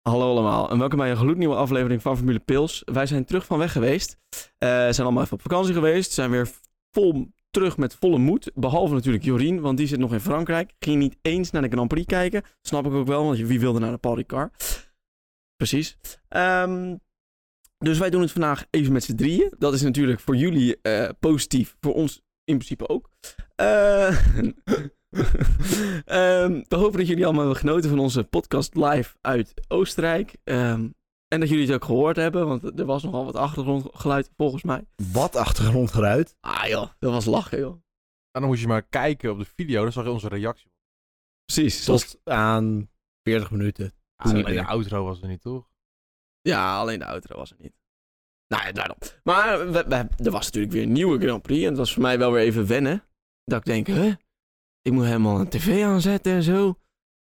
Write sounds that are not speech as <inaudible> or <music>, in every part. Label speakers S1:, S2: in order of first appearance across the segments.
S1: Hallo allemaal en welkom bij een gloednieuwe aflevering van Formule Pils. Wij zijn terug van weg geweest, Eh zijn allemaal even op vakantie geweest, zijn weer vol terug met volle moed. Behalve natuurlijk Jorien, want die zit nog in Frankrijk. Ging niet eens naar de Grand Prix kijken, snap ik ook wel, want wie wilde naar de Paul Ricard? Precies. Ehm, dus wij doen het vandaag even met z'n drieën. Dat is natuurlijk voor jullie eh, positief, voor ons in principe ook. Eh, <laughs> Ehm, we hopen dat jullie allemaal hebben genoten van onze podcast live uit Oostenrijk. Ehm, en dat jullie het ook gehoord hebben, want er was nogal wat achtergrondgeluid volgens mij.
S2: Wat achtergrondgeluid.
S1: Ah joh, dat was lachen joh.
S3: En dan moest je maar kijken op de video, dan zag je onze reactie.
S1: Precies. zoals-
S2: Tot aan 40 minuten.
S3: Ah,
S1: niet
S3: alleen de
S1: meer.
S3: outro was er niet, toch?
S1: Ja, alleen de outro was er niet. Nou ja, daarom. Maar we- we- er was natuurlijk weer een nieuwe Grand Prix en het was voor mij wel weer even wennen. Dat ik denk, hè? Ik moet helemaal een tv aanzetten en zo.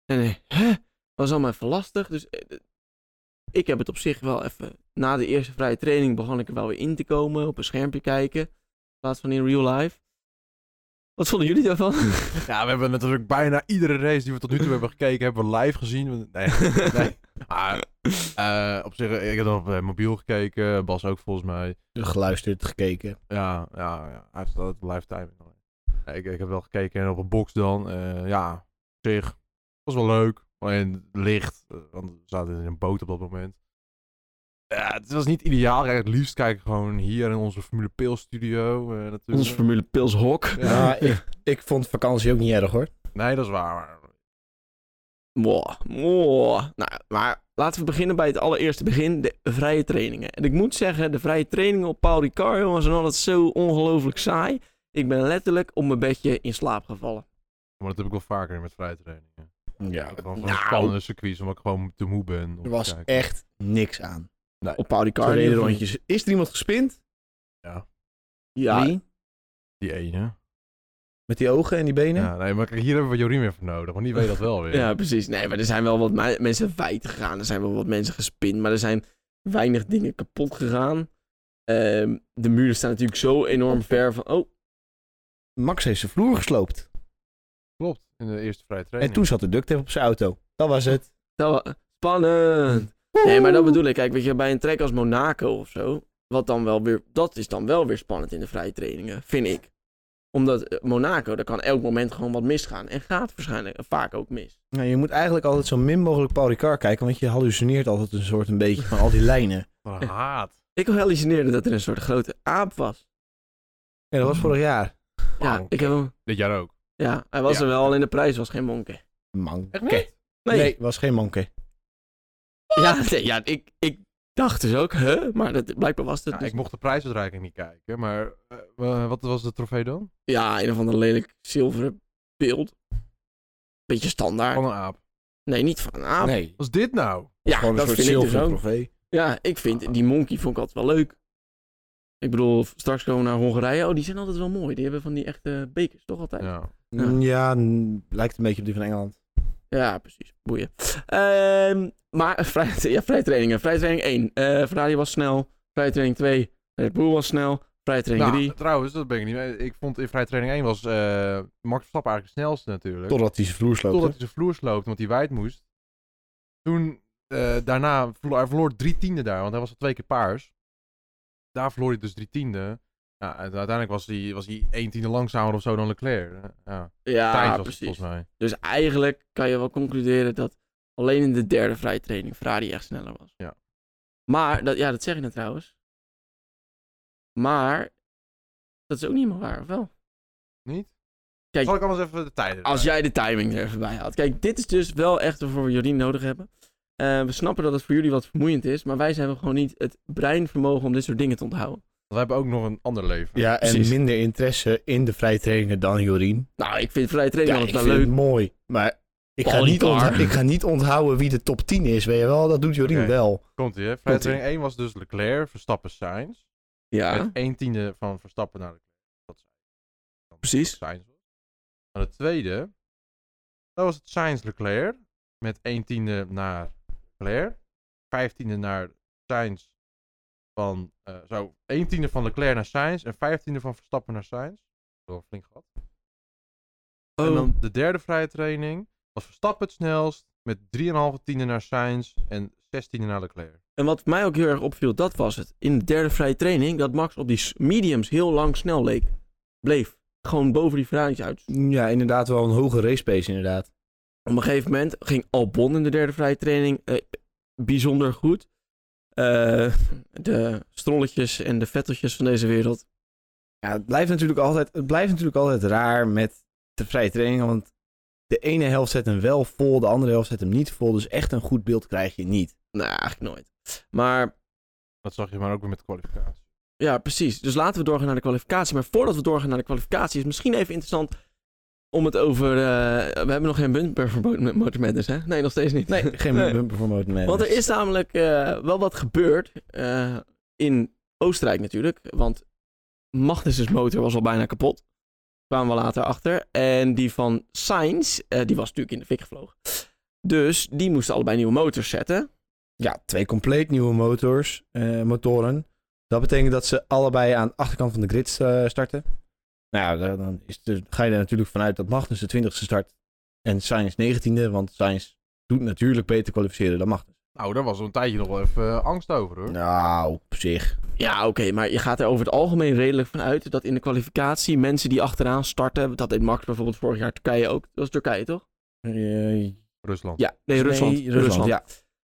S1: En eh, hè? was allemaal even lastig. Dus eh, eh, ik heb het op zich wel even... Na de eerste vrije training begon ik er wel weer in te komen. Op een schermpje kijken. In plaats van in real life. Wat vonden jullie daarvan?
S3: <laughs> Ja, we hebben natuurlijk bijna iedere race die we tot nu <laughs> toe hebben gekeken, hebben we live gezien. Want- <laughs> Nee,
S1: <laughs>
S3: nee.
S1: Ah.
S3: Maar, Ah, eh, op zich, eh, ik heb dan op eh, mobiel gekeken, Bas ook volgens mij.
S2: Geluisterd, gekeken.
S3: Ja, ja, ja. hij heeft altijd live timing. Nee, ik, ik heb wel gekeken en op een box dan. eh, ja, op zich was wel leuk. Alleen het licht, eh, want we zaten in een boot op dat moment. Ja, het was niet ideaal. Kijk, het liefst kijk ik gewoon hier in onze Formule Peel studio. eh, natuurlijk.
S1: Ons Formule Pils Hok.
S3: Ja.
S2: Ah, ik, ik vond vakantie ook niet erg hoor.
S3: Nee, dat is waar. maar-
S1: Mwah, mwah. Nou, maar laten we beginnen bij het allereerste begin, de vrije trainingen. En ik moet zeggen, de vrije trainingen op Paul Ricard, jongens, zijn altijd zo ongelooflijk saai. Ik ben letterlijk op mijn bedje in slaap gevallen.
S3: Maar dat heb ik wel vaker met vrije trainingen.
S2: Ja,
S3: Ja, dan van
S1: nou.
S3: spannende circuits, omdat ik gewoon te moe ben. om
S2: er
S3: te
S2: was
S3: kijken.
S2: echt niks aan.
S1: Op Paul Ricard.
S2: Zo
S1: in
S2: reden
S1: ieder geval.
S2: rondjes. Is er iemand gespind?
S1: Ja,
S2: Wie?
S3: Die ene.
S2: Met die ogen en die benen?
S3: Ja, nee, maar kijk, hier hebben we Jorien weer voor nodig, want die weet dat wel weer.
S1: <laughs> ja, precies. Nee, maar er zijn wel wat me- mensen wijd gegaan. Er zijn wel wat mensen gespind, maar er zijn weinig dingen kapot gegaan. Ehm, de muren staan natuurlijk zo enorm ver van... Oh,
S2: Max heeft zijn vloer gesloopt.
S3: Klopt, in de eerste vrije
S2: En
S3: training.
S2: toen zat de duct tape op zijn auto. Dat was het.
S1: dat wa- spannend. Nee, maar dat bedoel ik. Kijk, weet je, bij een trek als Monaco of zo, wat dan wel weer, dat is dan wel weer spannend in de vrije trainingen, vind ik. Omdat eh, Monaco, daar kan elk moment gewoon wat misgaan. En gaat waarschijnlijk eh, vaak ook mis.
S2: Nou, je moet eigenlijk altijd zo min mogelijk Paul Ricard kijken, want je hallucineert altijd een soort een beetje van al die lijnen.
S3: Wat een haat.
S1: Ik hallucineerde dat er een soort grote aap was.
S2: Ja, dat was vorig jaar.
S1: Ja, ik heb hem,
S3: Dit jaar ook.
S1: ja hij was
S3: Oh, Ja.
S1: er wel, alleen de prijs was geen monke.
S2: Manke.
S3: Echt niet?
S1: Nee,
S2: Nee, was geen manke.
S1: Ja, nee, ja ik, ik dacht dus ook, huh? Maar dat, blijkbaar was het
S3: Ja,
S1: dus-
S3: ik mocht de prijsuitreiking niet kijken, maar eh, eh, wat was de trofee dan?
S1: Ja, een of ander lelijk zilveren beeld. Beetje standaard.
S3: Van een aap.
S1: Nee, niet van een aap.
S2: Nee.
S3: Wat is dit nou?
S1: Ah. ja, dat vind ik dus ook.
S2: trofee.
S1: Ja, ik vind die Monkey vond ik altijd wel leuk. Ik bedoel, straks komen we naar Hongarije. Oh, die zijn altijd wel mooi. Die hebben van die echte bekers, toch altijd? Ja,
S3: Ja.
S1: Ja.
S2: Mm, Ja, n- lijkt een beetje op die van Engeland.
S1: precies. Boeien. Ehm, maar vrij, <laughs> ja, vrijtrainingen. Vrijtraining 1. eh Ferrari was snel. Vrijtraining 2. Red Bull was snel. Vrijtraining
S3: Nou,
S1: 3.
S3: trouwens, dat ben ik niet mee. Ik vond in vrije training 1 was eh, Max Verstappen eigenlijk de snelste natuurlijk.
S2: Totdat hij zijn vloer sloopt.
S3: Totdat hij zijn vloer sloopte, want hij wijd moest. Toen, eh, daarna, verlo- hij verloor drie tienden daar, want hij was al twee keer paars. Daar verloor hij dus drie tienden. Ja, en uiteindelijk was hij, was hij één tiende langzamer of zo dan Leclerc. Eh, Ja, Sainz
S1: Ja,
S3: was het
S1: precies.
S3: volgens mij.
S1: Dus eigenlijk kan je wel concluderen dat alleen in de derde vrijtraining Ferrari echt sneller was.
S3: Ja.
S1: Maar, dat, ja, dat zeg je nou trouwens. Maar, dat is ook niet meer waar, of wel?
S3: Niet?
S1: Kijk,
S3: Zal ik anders even de tijden
S1: Als jij de timing er even bij had. Kijk, dit is dus wel echt waarvoor we Jorien nodig hebben. Eh, we snappen dat het voor jullie wat vermoeiend is, maar wij hebben gewoon niet het breinvermogen om dit soort dingen te onthouden.
S3: We hebben ook nog een ander leven.
S2: Ja, en
S1: Precies.
S2: minder interesse in de vrije trainingen dan Jorien.
S1: Nou, ik vind vrije
S2: Ja,
S1: training
S2: ik
S1: altijd
S2: vind
S1: wel
S2: het
S1: leuk.
S2: mooi. Maar ik ga,
S1: Paul
S2: niet
S1: Ricard.
S2: onthouden, ik ga niet onthouden wie de top 10 is, weet je wel? Dat doet Jorien
S3: Oké.
S2: wel.
S3: Komt ie, hè? Vrije
S2: Komt-ie.
S3: training 1 was dus Leclerc, Verstappen, Sainz.
S1: Ja,
S3: Met één tiende van Verstappen naar Leclerc. Dat is- dan
S1: Precies.
S3: Sainz was. Maar de tweede, dat was het Sainz-Leclerc. Met één tiende naar Leclerc. Vijftiende naar Sainz. Van, eh zo, één tiende van Leclerc naar Sainz. En vijftiende van Verstappen naar Sainz. Door flink gehad. En
S1: Oh.
S3: dan de derde vrije training was Verstappen het snelst. Met 3,5 tiende naar Sainz. En 16e naar Leclerc.
S1: En wat mij ook heel erg opviel, dat was het. In de derde vrije training, dat Max op die s- mediums heel lang snel leek. Bleef. Gewoon boven die Ferrari's uit.
S2: Mm, Ja, inderdaad wel een hoge race pace inderdaad.
S1: Op een gegeven moment ging Albon in de derde vrije training eh, bijzonder goed. Eh, de strolletjes en de vetteltjes van deze wereld.
S2: Ja, het blijft natuurlijk altijd, het blijft natuurlijk altijd raar met de vrije trainingen, want de ene helft zet hem wel vol, de andere helft zet hem niet vol. Dus echt een goed beeld krijg je niet.
S1: Nou, eigenlijk nooit. Maar
S3: Dat zag je maar ook weer met de kwalificatie.
S1: ja, precies. Dus laten we doorgaan naar de kwalificatie. Maar voordat we doorgaan naar de kwalificatie, is misschien even interessant om het over. eh, we hebben nog geen bumper voor Mo- Motor Madness, hè? Nee, nog steeds niet.
S2: Nee, geen
S1: Nee.
S2: bumper voor Dus- Motor Madness.
S1: Want er is namelijk eh, wel wat gebeurd eh, in Oostenrijk natuurlijk. Want Magnus' motor was al bijna kapot. Kwamen we later achter. En die van Sainz, eh, die was natuurlijk in de fik gevlogen. Dus die moesten allebei nieuwe motors zetten.
S2: Ja, twee compleet nieuwe motors, eh, motoren. Dat betekent dat ze allebei aan de achterkant van de grid eh, starten. Nou ja, dan- dan is de, ga je er natuurlijk vanuit dat Magnus de 20ste start en Sainz 19e, want Sainz doet natuurlijk beter kwalificeren dan Magnus.
S3: Nou, daar was een tijdje nog wel even eh, angst over hoor.
S2: Nou, op zich.
S1: Ja, oké, maar je gaat er over het algemeen redelijk van uit dat in de kwalificatie mensen die achteraan starten. Dat deed Max bijvoorbeeld vorig jaar Turkije ook. Dat was Turkije toch?
S2: Eh,
S3: Rusland.
S1: Ja, nee, Rusland.
S2: Nee, Rusland, ja.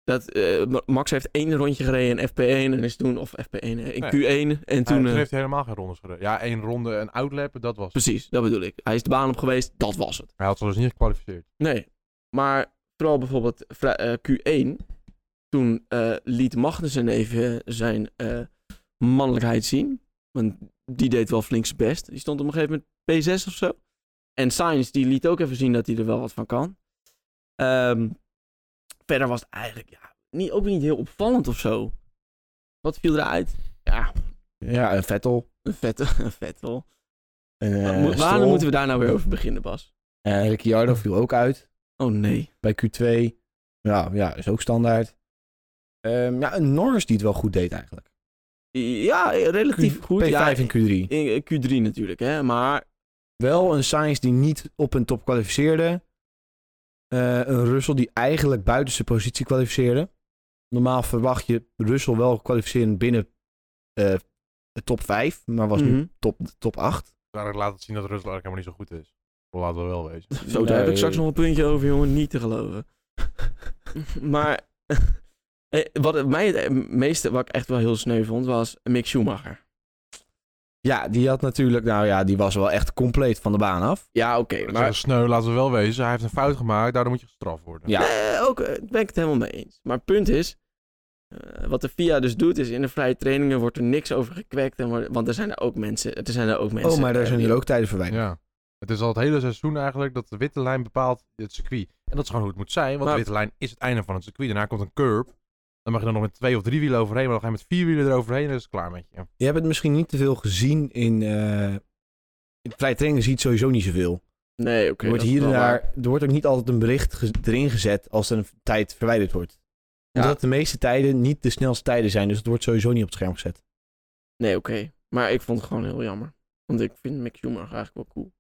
S1: Dat, eh, Ma- Max heeft één rondje gereden in FP1 en is toen, of FP1, eh, in
S3: Nee.
S1: Q1. En
S3: Toen,
S1: toen, eh,
S3: heeft hij helemaal geen rondes gereden. Ja, één ronde en outlap, dat was het.
S1: Precies, dat bedoel ik. Hij is de baan op geweest, dat was het.
S3: Hij had ze dus niet gekwalificeerd.
S1: Nee, maar vooral bijvoorbeeld vri- eh, Q1. Toen eh, liet Magnussen even zijn eh, mannelijkheid zien. Want die deed wel flink zijn best. Die stond op een gegeven moment P6 of zo. En Sainz die liet ook even zien dat hij er wel wat van kan. Ehm, verder was het eigenlijk ja, niet, ook niet heel opvallend of zo. Wat viel eruit? Ja,
S2: Ja, en Vettel.
S1: een vet, <laughs> een vet wel.
S2: En, eh,
S1: Mo-
S2: Stroll.
S1: Waarom moeten we daar nou weer over beginnen, Bas?
S2: Eh, Ricciardo viel ook uit
S1: Oh nee.
S2: bij Q2. Ja, ja is ook standaard. Ehm, ja, en Norris die het wel goed deed eigenlijk.
S1: Ja, relatief goed.
S2: P5
S1: ja,
S2: en
S1: in
S2: Q3.
S1: eh, Q3 natuurlijk, hè. Maar
S2: Wel een Sainz die niet op een top kwalificeerde. Eh, een Russell die eigenlijk buiten zijn positie kwalificeerde. Normaal verwacht je Russell wel kwalificeren binnen eh, de top 5, maar was nu
S1: Mhm.
S2: <laughs> top, top 8.
S3: Daar laat het zien dat Rusland eigenlijk helemaal niet zo goed is. Dat laten we wel wezen.
S1: zo, daar heb ik straks nog een puntje over, jongen. Niet te
S2: <laughs>
S1: geloven. maar <laughs> eh, wat mij het meeste, wat ik echt wel heel sneu vond, was Mick Schumacher.
S2: Ja, die had natuurlijk, nou ja, die was wel echt compleet van de baan af.
S1: Ja, oké,
S3: Dat
S1: maar...
S3: is sneu, laten we wel wezen. Hij heeft een fout gemaakt, daardoor moet je gestraft worden.
S2: Ja.
S1: Eh, ook eh, ben ik het helemaal mee eens. Maar het punt is, eh, wat de FIA dus doet, is in de vrije trainingen wordt er niks over gekwekt. En, wordt- want er zijn er ook mensen, er zijn er ook mensen.
S2: oh, maar daar
S1: eh,
S2: zijn
S1: die-
S2: er ook tijden verwijderd.
S3: Ja. Het is al het hele seizoen eigenlijk dat de witte lijn bepaalt het circuit. En dat is gewoon hoe het moet zijn, want
S1: Maar-
S3: de witte lijn is het einde van het circuit. Daarna komt een curb. Dan mag je dan nog met twee of drie wielen overheen, maar dan ga je met vier wielen eroverheen en dan is het klaar met je.
S2: Je hebt het misschien niet te veel gezien in... eh in vrije trainingen zie je het sowieso niet zoveel.
S1: Nee, oké.
S2: Er wordt,
S1: dat is
S2: hier en
S1: wel waar.
S2: daar, er wordt ook niet altijd een bericht ge- erin gezet als er een tijd verwijderd wordt.
S1: Ja.
S2: Omdat de meeste tijden niet de snelste tijden zijn, dus het wordt sowieso niet op het scherm gezet.
S1: Nee, oké. Maar ik vond het gewoon heel jammer. Want ik vind Mick Schumacher eigenlijk wel cool.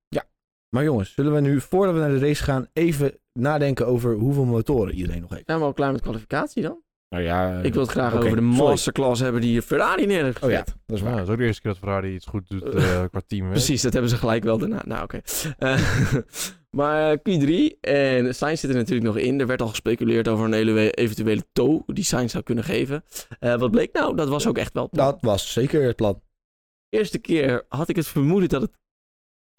S2: Maar jongens, zullen we nu, voordat we naar de race gaan, even nadenken over hoeveel motoren iedereen nog heeft?
S1: Zijn we al klaar met kwalificatie dan?
S2: Nou ja,
S1: ik wil het graag
S2: oké,
S1: over de
S2: sorry.
S1: masterclass hebben die Ferrari neer heeft
S2: Oh ja,
S1: gezet.
S2: dat is
S3: Ja,
S2: waar.
S3: dat is ook de eerste keer dat Ferrari iets goed doet
S1: <laughs> Eh,
S3: eh, qua team.
S1: Precies, dat hebben ze gelijk wel daarna. Nou, oké. <laughs> Eh, maar eh, Q3 en Sainz zit er natuurlijk nog in. Er werd al gespeculeerd over een hele we- eventuele toe die Sainz zou kunnen geven. Eh, wat bleek nou? Dat was ook echt wel het plan.
S2: Dat was zeker het plan.
S1: eerste keer had ik het vermoeden dat het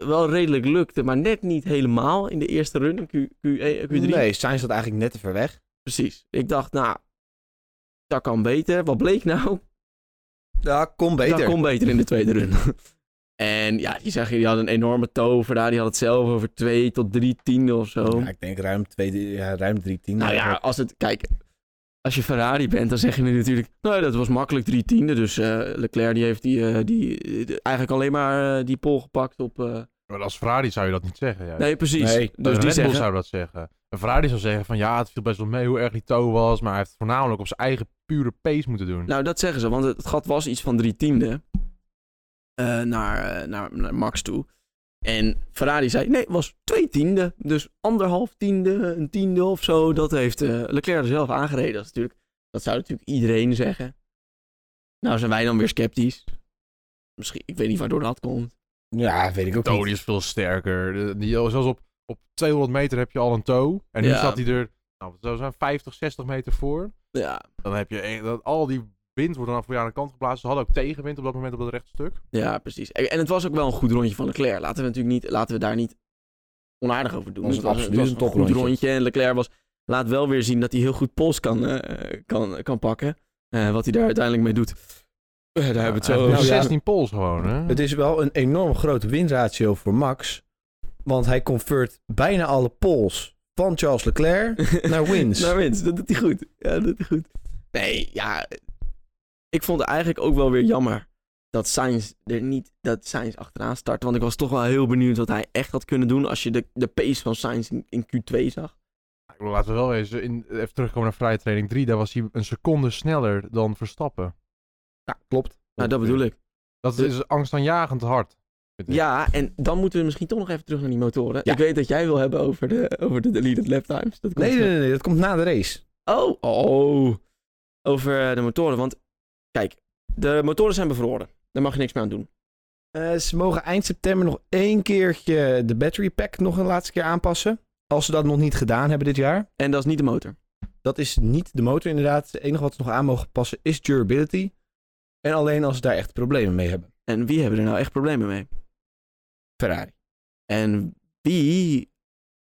S1: wel redelijk lukte, maar net niet helemaal in de eerste run in Q, eh, Q, Q3.
S2: Nee, Sainz zat eigenlijk net te ver weg.
S1: Precies. Ik dacht, nou, dat kan beter. Wat bleek nou?
S2: Ja, kom beter.
S1: Dat kon beter in de tweede run. <laughs> en ja, die zag je, die had een enorme tover daar. Die had het zelf over twee tot drie tiende of zo.
S2: Ja, ik denk ruim, twee, ja, ruim drie tienden.
S1: nou ja, als het, kijk, als je Ferrari bent, dan zeg je nu natuurlijk, nou ja, dat was makkelijk drie tiende. Dus eh, Leclerc die heeft die, eh, die, eh, de- eigenlijk alleen maar eh, die pol gepakt op... eh,
S3: Maar als Ferrari zou je dat niet zeggen. Ja.
S1: nee, precies.
S2: Nee, eh,
S1: dus
S3: Red
S1: die
S3: Bull
S1: zeggen,
S3: zou dat zeggen. En Ferrari zou zeggen van ja, het viel best wel mee hoe erg die toe was, maar hij heeft het voornamelijk op zijn eigen pure pace moeten doen.
S1: Nou, dat zeggen ze, want het gat was iets van drie tiende eh, naar, eh, naar, naar Max toe. En Ferrari zei, nee, het was twee tiende. Dus anderhalf tiende, een tiende of zo. Dat heeft eh, Leclerc er zelf aangereden. Dat is natuurlijk Dat zou natuurlijk iedereen zeggen. Nou zijn wij dan weer sceptisch. Misschien, ik weet niet waardoor dat komt.
S2: Ja, weet ik ook
S3: Tony
S2: niet.
S3: is veel sterker. De- Die, oh, zelfs op, op 200 meter heb je al een toe. En nu
S1: Ja.
S3: staat hij er, nou, wat zou het zijn 50, 60 meter voor.
S1: Ja,
S3: Dan heb je echt- dat, al die wind wordt dan voor je aan de kant geplaatst. Ze hadden ook tegenwind op dat moment op dat rechte stuk.
S1: ja precies. En en het was ook wel een goed rondje van Leclerc. Laten we, natuurlijk niet, laten we daar niet onaardig over doen.
S2: Was het absoluut
S1: was
S2: een
S1: goed
S2: toprondje.
S1: rondje. En Leclerc was, laat wel weer zien dat hij heel goed pols kan, eh, kan, kan pakken. Eh, wat hij daar uiteindelijk mee doet. Eh, daar hebben we het zo
S3: Hij heeft
S1: over.
S3: nu
S2: Nou ja.
S3: 16 pols gewoon, hè?
S2: Het is wel een enorm grote winratio voor Max. Want hij convert bijna alle polls van Charles <laughs> Leclerc <laughs>
S1: <laughs>
S2: naar wins.
S1: Naar winst, dat doet hij goed. Ja, dat doet hij goed. Nee, ja. Ik vond het eigenlijk ook wel weer jammer dat Sainz er niet dat Sainz achteraan start. Want ik was toch wel heel benieuwd wat hij echt had kunnen doen als je de, de pace van Sainz in, in Q2 zag.
S3: Nou, Ik bedoel, Laten we wel eens in, even terugkomen naar vrije training 3. Daar was hij een seconde sneller dan Verstappen.
S2: Ja, klopt.
S1: Nou, dat bedoel ik.
S3: Dat is angstaanjagend hard. vind ik.
S1: Ja, en dan moeten we misschien toch nog even terug naar die motoren.
S2: Ja.
S1: Ik weet dat jij wil hebben over de, over de deleted lap times. Dat komt
S2: Nee,
S1: zo.
S2: nee, nee, nee, dat komt na de race.
S1: Oh, oh. Over eh, de motoren. Want kijk, de motoren zijn bevroren. Daar mag je niks meer aan doen.
S2: Eh, ze mogen eind september nog één keertje de battery pack nog een laatste keer aanpassen. Als ze dat nog niet gedaan hebben dit jaar.
S1: En dat is niet de motor.
S2: Dat is niet de motor inderdaad. Het enige wat ze nog aan mogen passen is durability. En alleen als ze daar echt problemen mee hebben.
S1: En wie hebben er nou echt problemen mee?
S2: Ferrari.
S1: En die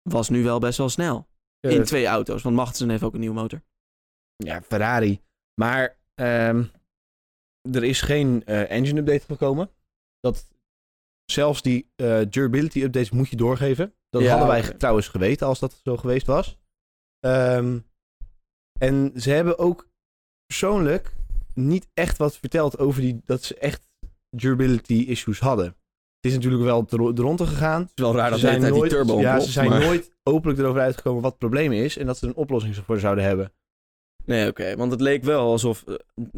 S1: was nu wel best wel snel.
S2: Eh,
S1: in twee auto's, want Magnussen heeft ook een nieuwe motor.
S2: ja, Ferrari. Maar ehm, er is geen eh, engine update gekomen. Dat, zelfs die eh, durability updates moet je doorgeven. Dat
S1: Ja,
S2: hadden wij
S1: oké.
S2: trouwens geweten als dat zo geweest was. Ehm, en ze hebben ook persoonlijk niet echt wat verteld over die, dat ze echt durability issues hadden. Het is natuurlijk wel de ro- de ronde gegaan.
S1: Het is wel raar
S2: Ze zijn
S1: hij
S2: nooit, ja,
S1: ontploft,
S2: ze zijn
S1: maar-
S2: nooit openlijk erover uitgekomen wat het probleem is en dat ze er een oplossing voor zouden hebben.
S1: Nee, oké, want het leek wel alsof eh,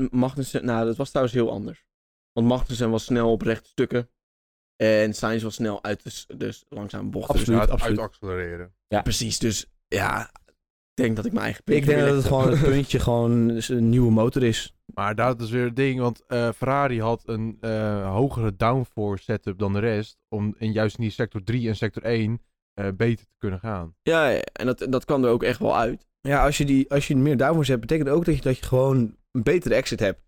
S1: Magnussen... Nou, dat was trouwens heel anders. Want Magnussen was snel op rechte stukken. En Sainz was snel uit de, s- de s- langzame bochten.
S2: Absoluut,
S3: uit,
S2: absoluut.
S3: uit accelereren.
S1: Dus- precies, dus ja, ik denk dat ik mijn eigen
S2: Ik denk
S1: weer
S2: dat
S1: leg.
S2: het gewoon het puntje gewoon een nieuwe motor is.
S3: Maar dat is weer het ding, want eh, Ferrari had een eh, hogere downforce setup dan de rest. Om in juist in die sector 3 en sector 1 eh, beter te kunnen gaan.
S1: Ja, ja, en dat, dat kwam er ook echt wel uit.
S2: Ja, als je, die, als je meer downforce hebt, betekent ook dat je, dat je gewoon een betere exit hebt.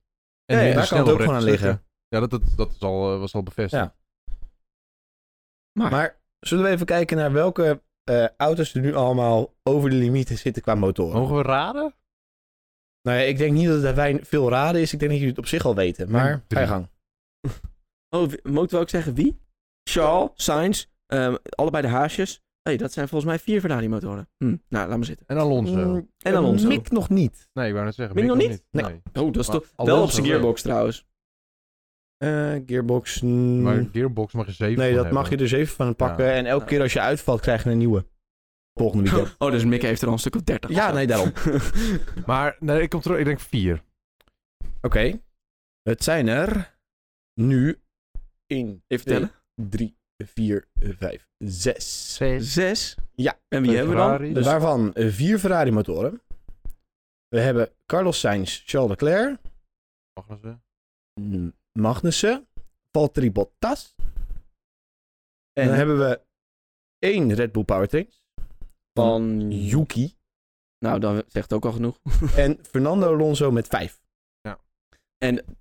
S3: En
S2: Ja,
S3: die
S2: ja, daar kan het
S3: snelle
S2: ook gewoon aan
S3: rechtstukken.
S2: liggen.
S3: Ja, dat, dat, dat is al, eh, was al bevestigd.
S2: Ja. Maar zullen we even kijken naar welke eh, auto's er nu allemaal over de limieten zitten qua motoren?
S3: Mogen we raden?
S2: Nou ja, ik denk niet dat daar wijn- veel raden is. Ik denk dat jullie het op zich al weten.
S3: Denk
S2: Maar ga
S3: drie.
S2: je gang.
S1: Oh, w- moeten we ook zeggen wie? Charles, Sainz, ehm, allebei de haasjes. hey, dat zijn volgens mij vier Ferrari-motoren. Hm. Nou, laat maar zitten.
S3: En Alonso.
S2: Mm,
S1: En Alonso.
S2: Mick nog niet.
S3: Nee, ik wou net zeggen.
S1: Mick nog
S2: niet?
S3: Nee.
S1: Oh, dat is
S3: Maar
S1: toch wel
S3: Alonso
S1: op zijn
S3: wel.
S1: gearbox trouwens.
S2: Eh, gearbox. mm,
S3: Maar Gearbox mag je 7
S2: nee, dat mag je er zeven van pakken. En elke
S1: Ja.
S2: keer als je uitvalt, krijg je een nieuwe. Volgende <laughs> weekend.
S1: <laughs> Oh, dus Mick heeft er al een stuk of 30.
S2: Ja,
S1: of zo. <laughs>
S2: nee, daarom.
S3: Maar nee, ik kom terug. Ik denk 4.
S2: Oké. Het zijn er nu in
S1: Even tellen.
S2: 3, 4, 5, 6.
S1: Zes.
S2: Ja.
S1: En wie hebben we dan?
S3: Dus
S2: Waarvan eh, vier Ferrari-motoren. We hebben Carlos Sainz, Charles Leclerc,
S3: Magnussen.
S2: mm, Magnussen, Valtteri Bottas. En dan
S1: Nee.
S2: hebben we één Red Bull Powertrain,
S1: Van
S3: <laughs>
S2: Yuki.
S1: Nou, dan zegt ook al genoeg.
S2: En Fernando Alonso met vijf.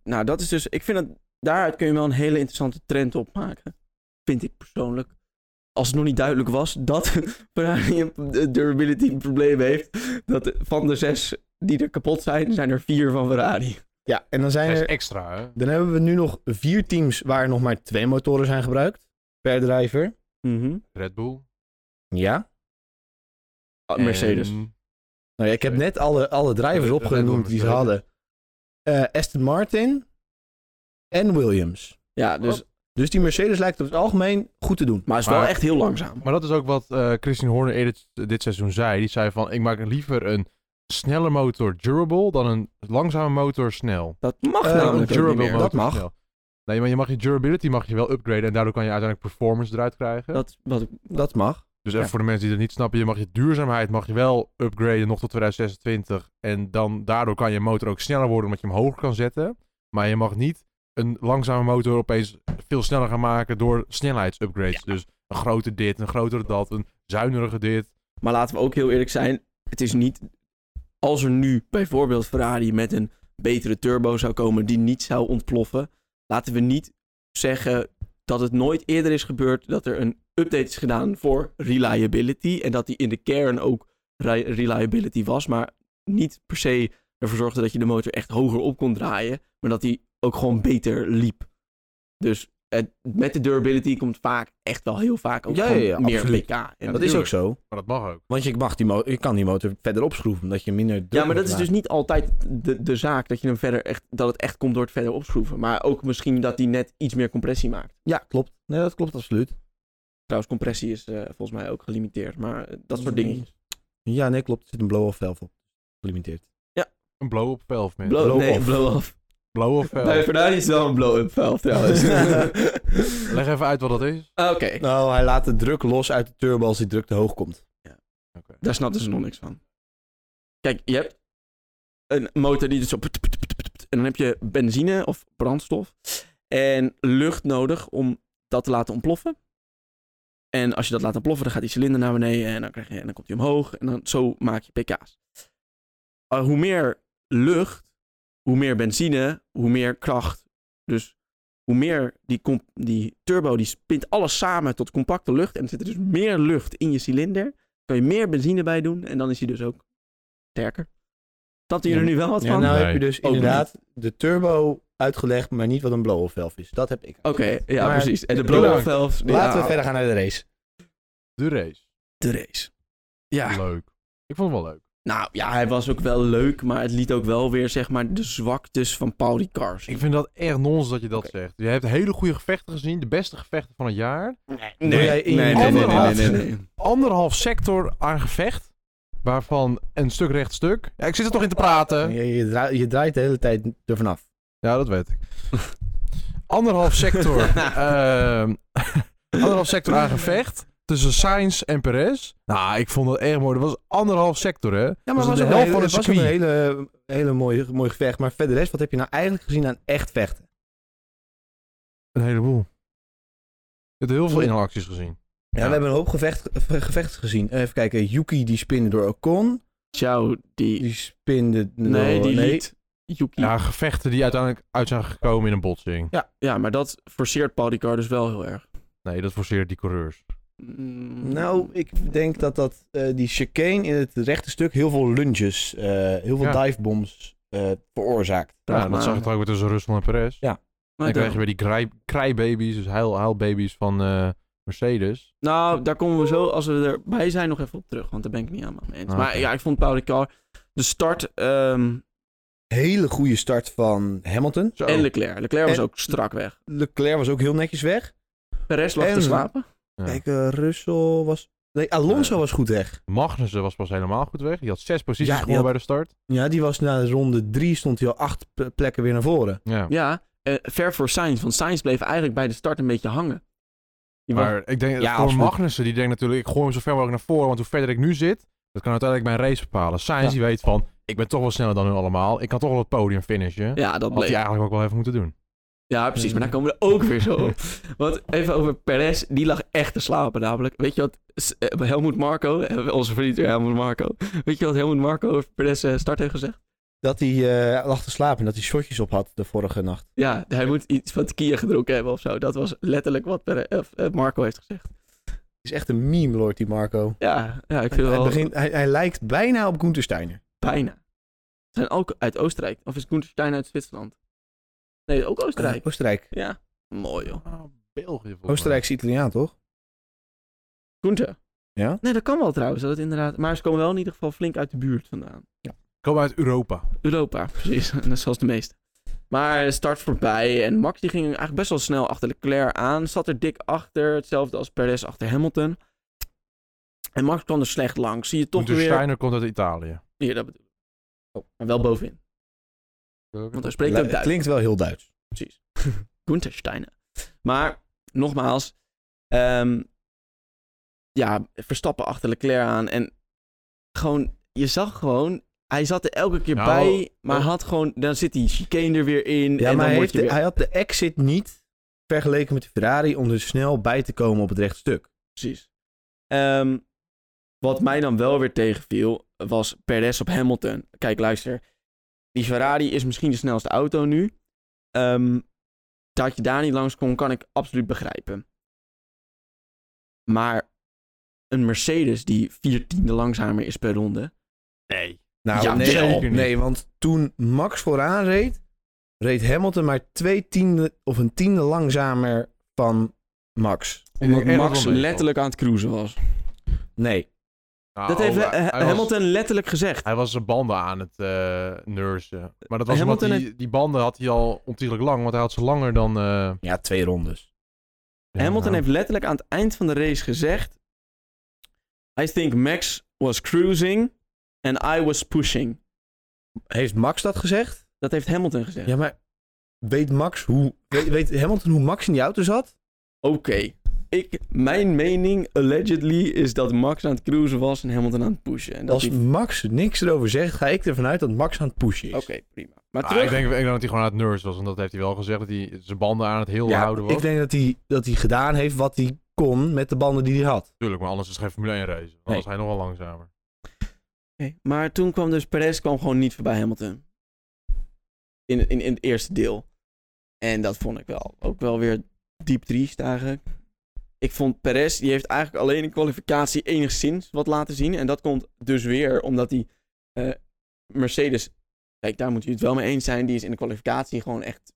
S1: Nou, dat is dus... Ik vind dat... Daaruit kun je wel een hele interessante trend opmaken. Vind ik persoonlijk. Als het nog niet duidelijk was dat <laughs> Ferrari een durability probleem heeft. Dat van de zes die er kapot zijn, zijn er vier van Ferrari.
S2: Ja, en dan zijn
S3: Dat is
S2: er...
S3: extra, hè?
S2: Dan hebben we nu nog vier teams waar nog maar twee motoren zijn gebruikt per driver.
S3: Red Bull.
S2: Ja.
S1: Ah, Mercedes.
S3: En-
S2: Nou ja, ik heb
S3: Oké.
S2: net alle, alle drivers
S3: Red- Red
S2: opgenoemd
S3: Bull
S2: die ze
S3: Mercedes.
S2: hadden. Eh, Aston Martin en Williams.
S1: Ja, dus...
S2: Dus die Mercedes lijkt op het algemeen goed te doen.
S1: Maar het is wel
S3: Maar-
S1: echt heel langzaam.
S3: Maar dat is ook wat eh Christian Horner eerder t- dit seizoen zei. Die zei van, ik maak liever een snelle motor durable dan een langzame motor snel.
S1: Dat mag
S2: Eh,
S1: namelijk
S2: want
S1: ook niet
S2: durable
S1: meer.
S3: motor
S2: Dat mag.
S3: snel. Nee, maar je mag je durability mag je wel upgraden en daardoor kan je uiteindelijk performance eruit krijgen.
S1: Dat, wat ik,
S2: Dat mag.
S3: Dus even
S1: Ja.
S3: voor de mensen die dat niet snappen, je mag je duurzaamheid mag je wel upgraden nog tot 2026. En dan, daardoor kan je motor ook sneller worden omdat je hem hoger kan zetten. Maar je mag niet een langzame motor opeens veel sneller gaan maken door snelheidsupgrades. Dus een groter dit, een grotere dat, een zuinige dit.
S1: Maar laten we ook heel eerlijk zijn. Het is niet. Als er nu bijvoorbeeld Ferrari met een betere turbo zou komen die niet zou ontploffen. Laten we niet zeggen dat het nooit eerder is gebeurd dat er een update is gedaan voor reliability. En dat die in de kern ook re- reliability was. Maar niet per se ervoor zorgde dat je de motor echt hoger op kon draaien. Maar dat die ook gewoon beter liep. Dus het, met de durability komt vaak echt wel heel vaak ook
S2: Ja, ja,
S1: gewoon
S2: ja,
S1: meer
S2: absoluut.
S1: pk. En
S3: Ja,
S2: dat is ook zo.
S3: Maar dat mag ook.
S2: Want je, mag die mo- je kan die motor verder opschroeven, omdat je minder druk
S1: Ja, maar
S2: moet
S1: dat is dus
S2: maken.
S1: niet altijd de, de zaak dat, je hem verder echt, dat het echt komt door het verder opschroeven. Maar ook misschien dat hij net iets meer compressie maakt.
S2: Ja, klopt. Nee, dat klopt absoluut.
S1: Trouwens, compressie is eh, volgens mij ook gelimiteerd. Maar eh, dat soort dingen.
S2: Ja, nee, klopt. Er zit een blow-off velf op. Gelimiteerd.
S3: Een blow-up velf, man.
S1: Blow,
S2: Blow
S1: nee,
S2: off.
S1: blow-off.
S3: blow-up
S1: Bij
S3: velf.
S1: Ferrari is wel een blow-up valve trouwens.
S3: Leg even uit wat dat is.
S1: <laughs> Oké,
S2: Nou, hij laat de druk los uit de turbo als die druk te hoog komt.
S1: daar snapten ze nog niks van. Kijk, je hebt een motor die dus zo... put, put, put, put, put, En dan heb je benzine of brandstof en lucht nodig om dat te laten ontploffen. En als je dat laat ontploffen, dan gaat die cilinder naar beneden en dan, krijg je, en dan komt hij omhoog. En dan, zo maak je pk's. Uh, hoe meer lucht, hoe meer benzine, hoe meer kracht. Dus hoe meer die, comp- die turbo, die spint alles samen tot compacte lucht. En er zit dus meer lucht in je cilinder. Kan je meer benzine bij doen en dan is hij dus ook sterker. Snapten jullie
S2: Ja,
S1: er nu wel wat
S2: Ja,
S1: van?
S2: nou
S3: Nee.
S2: heb je dus
S1: Ook
S2: inderdaad de turbo uitgelegd, maar niet wat een blow-off velf is. Dat heb ik.
S1: Oké, ja
S2: Maar-
S1: precies. En de
S2: Bedankt.
S1: blow-off valve.
S2: Laten
S1: ja,
S2: we verder gaan naar de race.
S3: De race.
S1: De race. Ja,
S3: Leuk. Ik vond het wel leuk.
S1: nou ja, hij was ook wel leuk, maar het liet ook wel weer zeg maar de zwaktes van Paul Ricard.
S3: Ik vind dat echt nonsens dat je dat zegt. Je hebt hele goede gevechten gezien. De beste gevechten van het jaar.
S2: Wil jij in je
S3: anderhalf-
S1: nee.
S3: Anderhalf sector aan gevecht. Waarvan een stuk recht stuk. Ja, ik zit er toch in te praten.
S2: Je, je, draait, je draait de hele tijd er vanaf.
S3: Ja, dat <laughs> weet ik. Anderhalf sector. ehm, anderhalf sector aan gevecht. Tussen Sainz en Perez. Nou, ik vond dat erg mooi. Dat was anderhalf sector, hè?
S2: Ja,
S3: maar
S2: het
S3: was
S2: een
S3: ook wel
S2: hele-
S3: van een
S2: het was ook
S3: circuit.
S2: een hele, hele mooie, mooi gevecht. Maar verder rest, wat heb je nou eigenlijk gezien aan echt vechten?
S3: Een heleboel. Je hebt heel veel inhaalacties gezien.
S2: Ja,
S3: Ja.
S2: we hebben een hoop gevecht, gevechten gezien. Even kijken, Yuki die spinde door Ocon.
S1: Ciao, die...
S2: Die spinde...
S1: Nee,
S2: door-
S1: die liet Yuki... Ja.
S3: Ja, gevechten die uiteindelijk uit zijn gekomen in een botsing.
S1: maar dat forceert Paul Ricard dus wel heel erg.
S3: Nee, dat forceert die coureurs.
S1: Mm.
S2: Nou, ik denk dat, dat eh, die chicane in het rechte stuk heel veel lunges, eh, heel veel
S3: Ja.
S2: divebombs eh, veroorzaakt.
S1: Vraag
S3: Ja,
S1: maar
S3: dat zag
S1: aan-
S3: je toch ook weer tussen Russell en Perez.
S1: maar
S3: dan
S1: dan-
S3: krijg je weer die kraai- kraaibabies, dus huil, huilbabies van eh, Mercedes.
S1: Nou, daar komen we zo, als we erbij zijn, nog even op terug. Want daar ben ik niet helemaal mee eens.
S3: Ah,
S1: Maar
S3: oké.
S1: ja, ik vond Paul Ricard... De start ehm,
S2: Hele goede start van Hamilton.
S3: Zo.
S1: en Leclerc. Leclerc was
S2: En-
S1: ook strak weg.
S2: Leclerc was ook heel netjes weg.
S1: Perez lag
S2: En-
S1: te slapen.
S3: Ja.
S2: Kijk, eh, Russell was... Nee, Alonso
S3: Eh.
S2: was goed weg.
S3: Magnussen was pas helemaal goed weg. Die had zes posities
S2: Ja, die
S3: gewonnen
S2: had-
S3: bij de start.
S2: Ja, die was na ronde drie stond hij al acht p- plekken weer naar voren.
S3: Ja.
S1: Ja, eh, ver voor Sainz. Want Sainz bleef eigenlijk bij de start een beetje hangen. Die was-
S3: Maar ik denk,
S2: Ja,
S3: voor
S2: absoluut.
S3: Magnussen, die denkt natuurlijk, ik gooi hem zo ver mogelijk naar voren, want hoe verder ik nu zit, dat kan uiteindelijk mijn race bepalen. Sainz,
S2: Ja.
S3: die weet van, ik ben toch wel sneller dan hun allemaal, ik kan toch wel het podium finishen.
S1: ja, dat
S3: Had hij
S1: bleef.
S3: eigenlijk ook wel even moeten doen.
S1: Ja, precies. Maar daar komen we er ook weer zo
S2: <laughs>
S1: op. Want even over Perez. Die lag echt te slapen namelijk. Weet je wat S- eh, Helmoet Marco, eh, onze vriend weer Helmoet Marco. Weet je wat Helmoet Marco over Perez eh, start heeft gezegd?
S2: Dat hij eh, lag te slapen en dat hij shotjes op had de vorige nacht.
S1: Ja, hij moet iets van tequila gedronken hebben of zo. Dat was letterlijk wat Perez, of, eh, Marco heeft gezegd.
S2: Is echt een meme, Lord, die Marco.
S1: Ja, ja ik
S2: Hij,
S1: vind het wel
S2: begint, hij, hij lijkt bijna op Gunther Steiner.
S1: bijna. Ze zijn ook uit Oostenrijk. Of is Koenstein uit Zwitserland? Nee, ook Oostenrijk.
S2: Eh, Oostenrijk.
S1: Ja, mooi joh.
S3: Ah, België volgens mij.
S2: Oostenrijkse Italiaan, toch?
S1: Koente.
S2: Ja?
S1: Nee, dat kan wel trouwens. Dat het inderdaad... Maar ze komen wel in ieder geval flink uit de buurt vandaan.
S3: Komen uit Europa.
S1: Europa, precies. <laughs> Net zoals de meeste. Maar start voorbij en Max die ging eigenlijk best wel snel achter Leclerc aan. Zat er dik achter, hetzelfde als Perez achter Hamilton. En Max kwam er slecht langs. Zie je toch
S3: Gunther
S1: weer...
S3: Steiner komt uit Italië.
S1: Hier, dat bedoel ik. Oh, Maar wel bovenin, want hij spreekt ook
S2: Het
S1: Duits.
S2: klinkt wel heel Duits.
S1: Precies. Gunther Steiner. Maar, nogmaals, ehm, ja, Verstappen achter Leclerc aan. En gewoon, je zag gewoon, hij zat er elke keer
S3: Ja,
S1: bij, maar
S3: oh.
S1: had gewoon, dan zit die chicane er weer in.
S2: Nou, Ja,
S1: en
S2: maar
S1: dan
S2: hij,
S1: word
S2: heeft
S1: je
S2: de-
S1: weer...
S2: hij had de exit niet vergeleken met de Ferrari om er snel bij te komen op het rechte stuk.
S1: Precies. Ehm, wat mij dan wel weer tegenviel, was Perez op Hamilton. Kijk, luister. Die Ferrari is misschien de snelste auto nu. Ehm, dat je daar niet langs kon, kan ik absoluut begrijpen. Maar een Mercedes die vier tiende langzamer is per ronde.
S3: Nee.
S2: Nou,
S1: Ja,
S2: nee,
S1: zeker
S2: nee,
S3: niet.
S2: nee, want toen Max vooraan reed, reed Hamilton maar twee tiende of een tiende langzamer van Max.
S1: Omdat Max letterlijk aan het cruisen was.
S2: Nee,
S3: Ah,
S1: dat heeft
S3: oh,
S1: Le- eh, Hamilton letterlijk gezegd.
S3: Nou, Hij was zijn banden aan het eh nursen. Maar dat was
S1: Hamilton
S3: omdat die, die banden had hij al ontiegelijk lang, want hij had ze langer dan... eh,
S2: ja, twee rondes.
S1: Hamilton
S3: ja. nou.
S1: heeft letterlijk aan het eind van de race gezegd: I think Max was cruising and I was pushing.
S2: Heeft Max dat gezegd?
S1: Dat heeft Hamilton gezegd.
S2: Ja, maar weet Max hoe, weet, weet Hamilton hoe Max in die auto zat?
S1: Oké. Ik, mijn mening, allegedly, is dat Max aan het cruisen was en Hamilton aan het pushen. En dat
S2: Als
S1: hij-
S2: Max niks erover zegt, ga ik ervan uit dat Max aan het pushen is.
S1: Oké, prima. Maar
S3: Ah,
S1: terug.
S3: ik, denk, ik denk dat hij gewoon aan het nurse was, want dat heeft hij wel gezegd, dat hij zijn banden aan het heel
S2: Ja,
S3: houden was.
S2: ik denk dat hij, dat hij gedaan heeft wat hij kon met de banden die hij had.
S3: Tuurlijk, maar anders is het geen Formule 1 race. Dan
S2: Nee.
S3: was hij nogal langzamer.
S1: Oké, Maar toen kwam dus Perez kwam gewoon niet voorbij Hamilton. In, in, in het eerste deel. En dat vond ik wel ook wel weer diep triest eigenlijk. Ik vond Perez, die heeft eigenlijk alleen in kwalificatie enigszins wat laten zien. En dat komt dus weer omdat die eh, Mercedes, kijk daar moet je het wel mee eens zijn, die is in de kwalificatie gewoon echt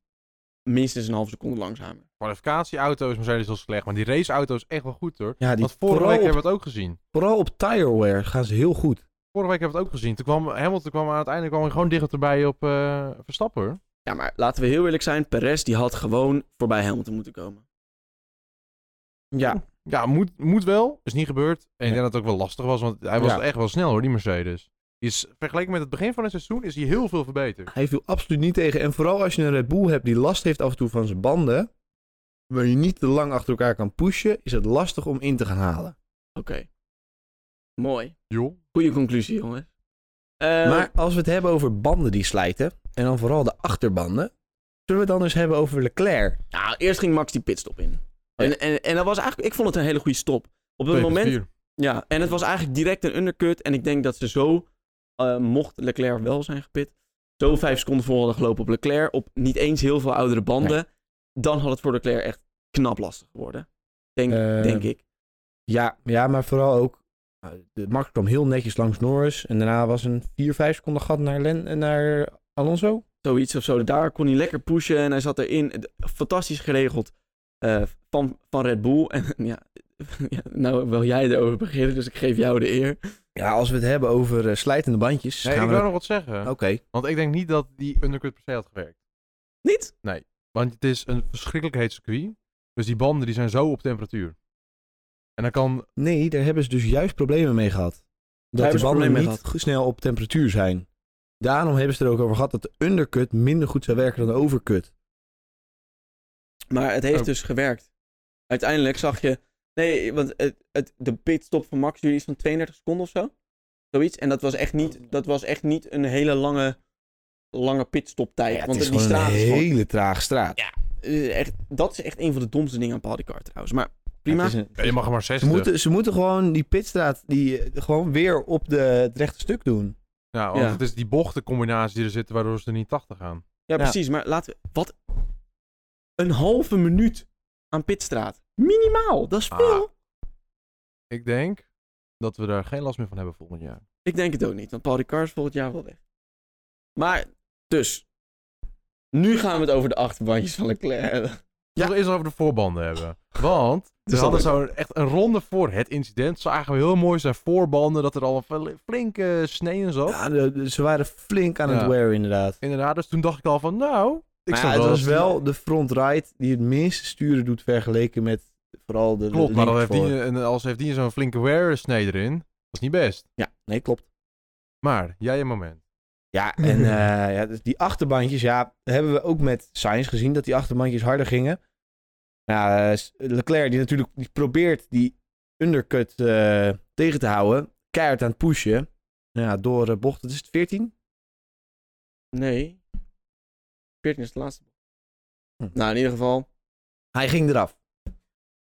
S1: minstens een halve seconde langzamer.
S3: Kwalificatieauto is Mercedes heel slecht, maar die raceauto is echt wel goed hoor.
S2: Ja, die,
S3: Want vorige
S2: vooral
S3: week
S2: op-
S3: hebben we het ook gezien.
S2: Vooral op tireware gaan ze heel goed.
S3: Vorige week hebben we het ook gezien. Toen kwam Hamilton kwam aan het einde kwam hij gewoon dichterbij op eh, Verstappen. hoor.
S1: Ja, maar laten we heel eerlijk zijn, Perez die had gewoon voorbij Hamilton moeten komen.
S2: Ja.
S3: Ja, moet, moet wel. Is niet gebeurd.
S2: Ja.
S3: En ik denk dat het ook wel lastig was, want hij was
S2: Ja.
S3: echt wel snel hoor, die Mercedes. Die is, vergeleken met het begin van het seizoen is hij heel veel verbeterd.
S2: Hij viel absoluut niet tegen. En vooral als je een Red Bull hebt die last heeft af en toe van zijn banden. Waar je niet te lang achter elkaar kan pushen, is het lastig om in te gaan halen.
S1: Oké. Mooi.
S3: Joh.
S1: Goede conclusie, jongens. Eh,
S2: maar als we het hebben over banden die slijten, en dan vooral de achterbanden, zullen we het dan eens hebben over Leclerc.
S1: Nou, eerst ging Max die pitstop in. En, en, en dat was eigenlijk, ik vond het een hele goede stop. Op het
S3: 2.4.
S1: moment, ja, en het was eigenlijk direct een undercut. En ik denk dat ze zo, eh, mocht Leclerc wel zijn gepit, zo vijf seconden voor hadden gelopen op Leclerc, op niet eens heel veel oudere banden, dan had het voor Leclerc echt knap lastig geworden. Denk,
S2: Eh,
S1: denk ik.
S2: Ja, ja maar vooral ook. eh, de- Max kwam heel netjes langs Norris. En daarna was een 4, 5 seconden gat naar, Len, eh, naar Alonso.
S1: Zoiets of zo. Daar kon hij lekker pushen en hij zat erin. Het- Fantastisch geregeld eh, van, van Red Bull. En <laughs> ja, ja, nou wil jij erover beginnen, dus ik geef jou de eer.
S2: Ja, als we het hebben over eh, slijtende bandjes.
S3: Nee,
S2: gaan
S3: ik
S2: we
S3: wil
S2: dat-
S3: nog wat zeggen.
S2: Oké.
S3: Want ik denk niet dat die undercut per se had gewerkt.
S1: Niet?
S3: Want het is een verschrikkelijk heet circuit. Dus die banden die zijn zo op temperatuur. En dan kan
S2: Nee, daar hebben ze dus juist problemen mee gehad. Dat
S1: hebben
S2: die
S1: ze
S2: banden
S1: problemen
S2: niet
S1: mee
S2: ge- snel op temperatuur zijn. Daarom hebben ze er ook over gehad dat de undercut minder goed zou werken dan de overcut.
S1: Maar het heeft
S3: Oh.
S1: dus gewerkt. Uiteindelijk zag je. Nee, want het, het, de pitstop van Max duurde iets van 32 seconden of zo. Zoiets. En dat was echt niet, dat was echt niet een hele lange, lange pitstoptijd. want die straat is gewoon-
S2: traag straat.
S1: eh, echt, dat is echt een van de domste dingen aan Pauldycar trouwens. Maar prima.
S2: Het is een-
S3: Ja, je mag er maar
S2: ze,
S3: 60.
S2: moeten, ze moeten gewoon die pitstraat die, eh, gewoon weer op de, het rechte stuk doen.
S3: Ja, want
S1: Ja.
S3: het is die bochtencombinatie die er zitten waardoor ze er niet 80 gaan.
S1: ja, precies. Maar laten we. Wat? Een halve minuut aan pitstraat. Minimaal. Dat is
S3: Ah.
S1: veel.
S3: Ik denk dat we daar geen last meer van hebben volgend jaar.
S1: Ik denk het ook niet, want Paul Ricard is volgend jaar wel weg. Maar, dus. Nu gaan we het over de achterbandjes van Leclerc hebben.
S3: Ja. Nog eens over de voorbanden hebben.
S2: <laughs>
S3: Want we
S2: Dus
S1: dat
S3: hadden
S1: ook.
S3: zo echt een ronde voor het incident. Zagen we heel mooi zijn voorbanden, dat er al een fl- flinke snee in zat.
S2: Ja, de- de- ze waren flink aan
S3: Ja.
S2: het wear inderdaad.
S3: Inderdaad, dus toen dacht ik al van nou... Ik
S2: Maar
S3: snap
S2: ja, het was
S3: dat-
S2: wel de front right die het minste sturen doet vergeleken met vooral de
S3: Klopt, maar dan heeft
S2: linkervoor.
S3: die, eh, en als heeft die zo'n flinke wear snee erin, dat is niet best.
S2: Ja, nee, klopt.
S3: Maar, jij een moment.
S2: Ja,
S3: <laughs>
S2: en eh, ja, dus die achterbandjes, ja, hebben we ook met Sainz gezien dat die achterbandjes harder gingen. Nou, eh, Leclerc die natuurlijk die probeert die undercut eh, tegen te houden. Keihard aan het pushen. Ja, door eh, bochten. Dus het 14.
S1: Nee. 14 is de laatste.
S2: Hm.
S1: Nou, in ieder geval.
S2: Hij ging eraf.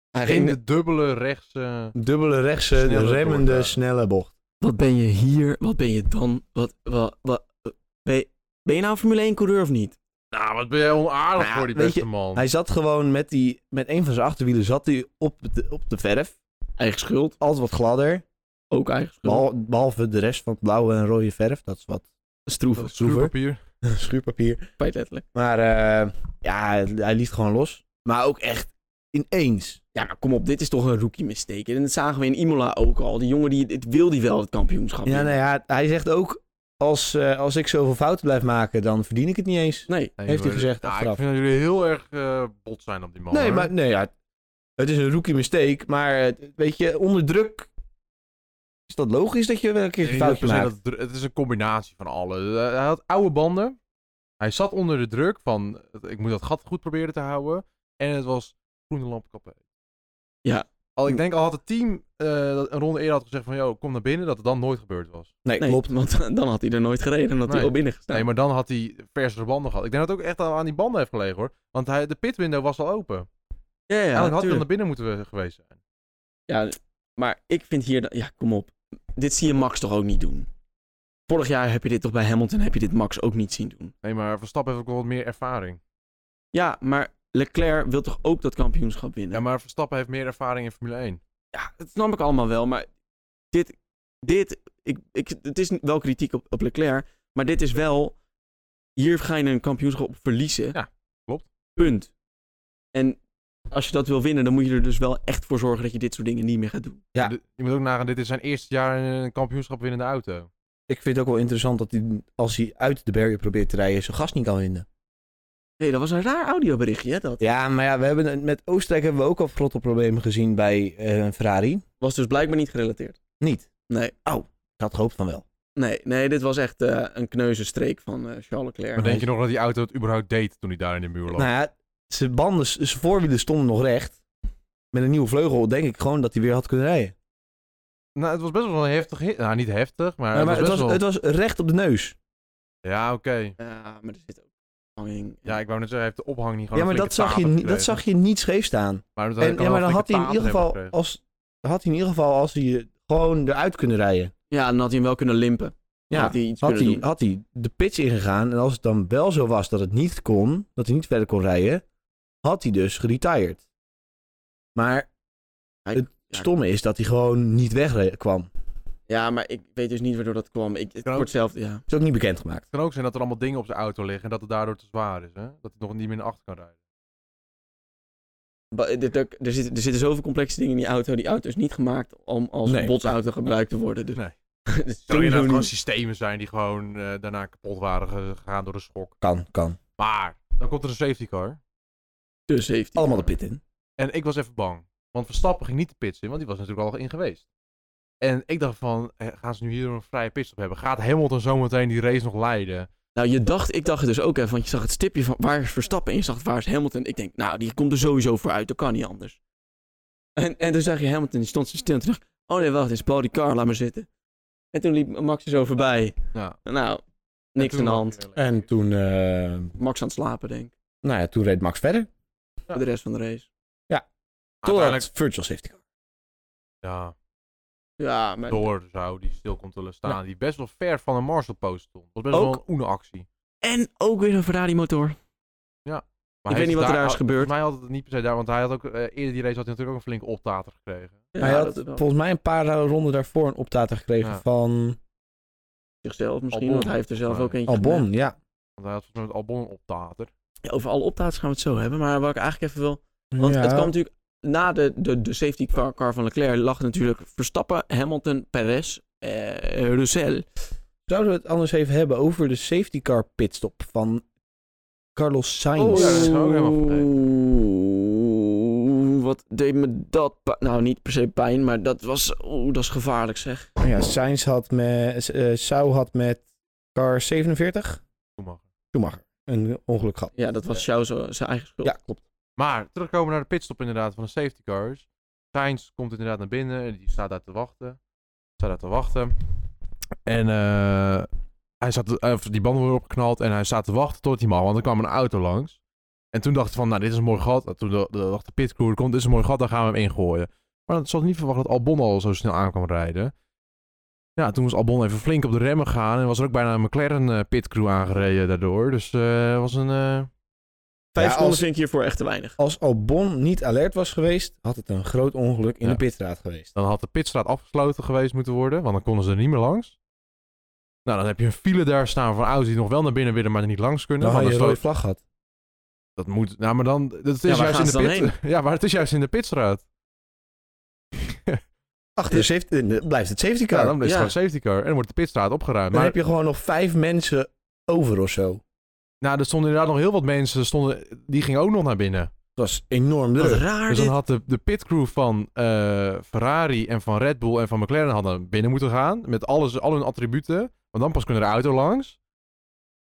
S1: Hij
S3: In
S1: ging...
S3: de dubbele rechts. eh,
S2: Dubbele rechtse,
S3: Snelle
S2: remmende,
S3: doorgaan.
S2: snelle bocht.
S1: Wat ben je hier? Wat ben je dan? Wat, wat, wat, ben, je, ben je nou een Formule 1-coureur of niet?
S3: nou, wat ben jij onaardig
S2: Nou,
S3: voor die
S2: weet
S3: beste
S2: je,
S3: man.
S2: Hij zat gewoon met, die, met een van zijn achterwielen zat hij op, de, op de verf.
S1: Eigen schuld.
S2: Altijd wat gladder.
S1: Ook eigen schuld.
S2: behal- Behalve de rest van het blauwe en rode verf. Dat is wat
S1: Stroeven.
S3: Dat schuurpapier.
S2: schuurpapier.
S1: Spijt letterlijk.
S2: Maar eh, ja, hij liet gewoon los. Maar ook echt ineens.
S1: Ja, maar kom op. Dit is toch een rookie mistake. En dat zagen we in Imola ook al. Die jongen, die, dit wil die wel, het kampioenschap.
S2: Ja,
S1: winnen.
S2: nou ja, hij zegt ook, als, eh, als ik zoveel fouten blijf maken, dan verdien ik het niet eens.
S1: Nee.
S3: Nee,
S2: Heeft hij
S3: maar-
S2: gezegd
S3: Nou, ik
S2: achteraf.
S3: vind dat jullie heel erg eh, bot zijn op die man.
S2: Nee,
S3: hoor.
S2: maar nee, ja, het is een rookie mistake. Maar eh, weet je, onder druk is dat logisch dat je wel een
S3: Ik
S2: keer een
S3: denk dat
S2: foutje
S3: per se
S2: maakt.
S3: dat dru- het is een combinatie van alles. Eh, Hij had oude banden. Hij zat onder de druk van eh, ik moet dat gat goed proberen te houden. En het was groene lampkappen.
S1: Ja.
S3: Al, ik denk al had het team eh, dat een ronde eerder had gezegd van joh, kom naar binnen, dat het dan nooit gebeurd was.
S2: Nee,
S1: Nee,
S2: klopt.
S1: <laughs> Want dan had hij er nooit gereden. Omdat hij
S3: Nee.
S1: al binnen gestaan.
S3: Nee, maar dan had hij versere banden gehad. Ik denk dat het ook echt al aan die banden heeft gelegen hoor. Want hij, de pitwindow was al open.
S1: ja, ja,
S3: Eigenlijk had
S1: tuurlijk.
S3: hij dan naar binnen moeten we- geweest zijn.
S1: Ja, maar ik vind hier... dat- Ja, kom op. Dit zie je Max toch ook niet doen? Vorig jaar heb je dit toch bij Hamilton... heb je dit Max ook niet zien doen.
S3: Nee, maar Verstappen heeft ook wel wat meer ervaring.
S1: Ja, maar Leclerc wil toch ook dat kampioenschap winnen?
S3: Ja, maar Verstappen heeft meer ervaring in Formule 1.
S1: ja, dat snap ik allemaal wel, maar dit, dit ik, ik, het is wel kritiek op, op Leclerc, maar dit is wel, hier ga je een kampioenschap op verliezen.
S3: Ja, klopt.
S1: Punt. En als je dat wil winnen, dan moet je er dus wel echt voor zorgen dat je dit soort dingen niet meer gaat doen.
S2: Ja.
S3: Dit- Je moet ook nagaan, dit is zijn eerste jaar in een kampioenschap winnende auto.
S2: Ik vind het ook wel interessant dat hij, als hij uit de barrier probeert te rijden, zijn gas niet kan winnen.
S1: Hé, dat was een raar audioberichtje, hè, dat.
S2: Ja, maar ja, we hebben, met Oostenrijk hebben we ook al grotteproblemen gezien bij eh, Ferrari.
S1: Was dus blijkbaar niet gerelateerd.
S2: Niet.
S1: Nee,
S2: Ik had gehoopt van wel.
S1: nee, nee, dit was echt eh, een kneuze streek van eh, Charles Leclerc.
S3: Maar denk je nog dat die auto het überhaupt deed toen hij daar in de muur lag?
S2: Nou ja, zijn banden, zijn voorwielen stonden nog recht. Met een nieuwe vleugel denk ik gewoon dat hij weer had kunnen rijden.
S3: Nou, het was best wel een heftig hit. Nou, niet heftig, maar,
S2: maar het,
S3: het was best
S2: was,
S3: wel... Oh,
S2: het was recht op de neus.
S3: Ja, oké.
S1: Ja, maar er zit ook hanging.
S3: Ja, ik wou net zeggen, hij heeft de ophang niet gewoon
S2: ja, maar dat zag, je, niet- dat zag je niet scheef staan.
S3: Maar, dat
S2: En,
S3: kan
S2: ja,
S3: wel
S2: maar dan
S3: een
S2: had hij in
S3: flinke
S2: ieder
S3: taart
S2: geval
S3: hebben
S2: als, had hij in ieder geval als hij eh, gewoon eruit kunnen rijden.
S1: ja, dan had hij hem wel kunnen limpen.
S2: Ja,
S1: had hij iets
S2: had
S1: kunnen
S2: hij,
S1: doen.
S2: had hij de pitch ingegaan en als het dan wel zo was dat het niet kon, dat hij niet verder kon rijden, had hij dus geretired. Maar
S1: Hij-
S2: het stomme is dat hij gewoon niet wegkwam.
S1: Ja, maar ik weet dus niet waardoor dat kwam. Ik, het
S3: Kan ook.
S1: wordt hetzelfde, ja.
S2: Is ook niet bekendgemaakt.
S3: Het kan ook zijn dat er allemaal dingen op zijn auto liggen en dat het daardoor te zwaar is, hè? Dat hij nog niet meer naar achter kan rijden.
S1: Ba- Er, er, er zitten, er zitten zoveel complexe dingen in die auto. Die auto is niet gemaakt om als
S2: Nee.
S1: botsauto gebruikt te worden. Dus,
S3: Nee.
S1: dus
S3: Zou er
S1: sowieso
S3: gewoon
S1: niet.
S3: systemen zijn die gewoon eh, daarna kapot waren ge- gegaan door de schok.
S2: Kan, kan.
S3: Maar, dan komt er een safety car.
S1: Dus heeft hij.
S2: Allemaal de pit in.
S3: En ik was even bang. Want Verstappen ging niet de pits in, want die was natuurlijk al in geweest. En ik dacht van, eh, gaan ze nu hier een vrije pitstop hebben? Gaat Hamilton zometeen die race nog leiden?
S1: Nou, je dacht, ik dacht het dus ook even, want je zag het stipje van waar is Verstappen en je zag het, waar is Hamilton. Ik denk, nou, die komt er sowieso voor uit, dat kan niet anders. En, en toen zag je Hamilton, die stond zo stil en toen dacht ik, oh nee, wacht, het is Paul Ricard, laat maar zitten. En toen liep Max er zo voorbij.
S3: Ja.
S1: Nou, niks aan de hand.
S2: En toen, eh,
S1: Max aan het slapen, denk ik,
S2: nou ja, toen reed Max verder.
S1: voor de rest van de race.
S2: Totdat
S3: Uiteindelijk,
S2: virtual safety car.
S3: ja,
S1: Ja, maar
S3: door zou die stil komt te staan. Die best wel ver van een Marshall post stond. Dat was best
S1: Ook-
S3: wel een oene actie.
S1: En ook weer een Ferrari motor.
S3: Maar
S1: Ik
S3: hij
S1: weet niet wat er daar is
S3: al-
S1: gebeurd.
S3: Volgens mij had het niet per se daar, want hij had ook, eh, eerder die race had hij natuurlijk ook een flinke optater gekregen.
S2: hij had volgens mij een paar eh, ronden daarvoor een optater gekregen
S3: Ja.
S2: van
S1: zichzelf misschien,
S3: Albon.
S1: want hij heeft er zelf ook eentje gemaakt.
S2: Albon. Ja.
S3: Want hij had volgens mij met Albon een optater.
S1: Ja, over alle optaats gaan we het zo hebben, maar wat ik eigenlijk even wil... Want het kwam natuurlijk... Na de, de, de safety car car van Leclerc lag natuurlijk Verstappen, Hamilton, Perez, eh, Russell.
S2: Zouden we het anders even hebben over de safety car pitstop van Carlos
S3: Oh,
S2: Sainz?
S3: ja, dat is ook helemaal vergeten.
S1: Oeh, wat deed me dat... pi- Nou, niet per se pijn, maar dat was... Oeh, dat is gevaarlijk zeg.
S2: Oh ja. Sainz had met, eh Sau had met car 47,
S3: Schumacher.
S2: Schumacher, een ongeluk gehad.
S1: Ja, dat was Sjouw zo- zijn eigen schuld.
S2: Ja, klopt.
S3: Maar terugkomen naar de pitstop inderdaad van de safety cars. Sainz komt inderdaad naar binnen. en Die staat daar te wachten. Staat daar te wachten. En eh, hij zat, eh, of die banden worden opgeknald. En hij staat te wachten tot hij mag. Want er kwam een auto langs. En toen dacht hij van, nou, dit is een mooi gat. En Toen d- d- dacht de pitcrew, er komt, dit is een mooi gat, daar gaan we hem ingooien. Maar dan zat niet verwacht dat Albon al zo snel aan kwam rijden. Ja, toen moest Albon even flink op de remmen gaan. En was er ook bijna een McLaren eh, pitcrew aangereden daardoor. Dus eh was een... eh,
S1: Vijf
S2: Ja,
S1: seconden
S2: als-
S1: vind ik hiervoor echt te weinig.
S2: Als Albon niet alert was geweest, had het een groot ongeluk in
S3: Ja.
S2: de pitstraat geweest.
S3: Dan had de pitstraat afgesloten geweest moeten worden, want dan konden ze er niet meer langs. Nou, dan heb je een file daar staan van auto's die nog wel naar binnen willen, maar er niet langs kunnen.
S2: Dan had
S3: want
S2: je een
S3: dan
S2: rode
S3: sloot-
S2: vlag gehad.
S3: dat moet. Nou, maar dan. Dat is
S1: Ja, waar
S3: juist
S1: gaan
S3: in
S1: ze
S3: de
S1: dan
S3: pit, <laughs> Ja, maar het is juist in de pitstraat.
S2: Achter de safety, eh, blijft het safety
S3: Ja,
S2: car.
S3: dan is het
S1: Ja.
S3: gewoon safety car en dan wordt de pitstraat opgeruimd.
S2: Dan
S3: Maar
S2: heb je gewoon nog vijf mensen over of zo.
S3: nou, er stonden inderdaad nog heel wat mensen, stonden, die gingen ook nog naar binnen.
S2: Dat was enorm
S1: Wat
S2: druk.
S1: raar
S3: Dus
S1: dit.
S3: dan had de, de pitcrew van eh, Ferrari en van Red Bull en van McLaren hadden binnen moeten gaan. Met alles, al hun attributen. Want dan pas kunnen de auto langs.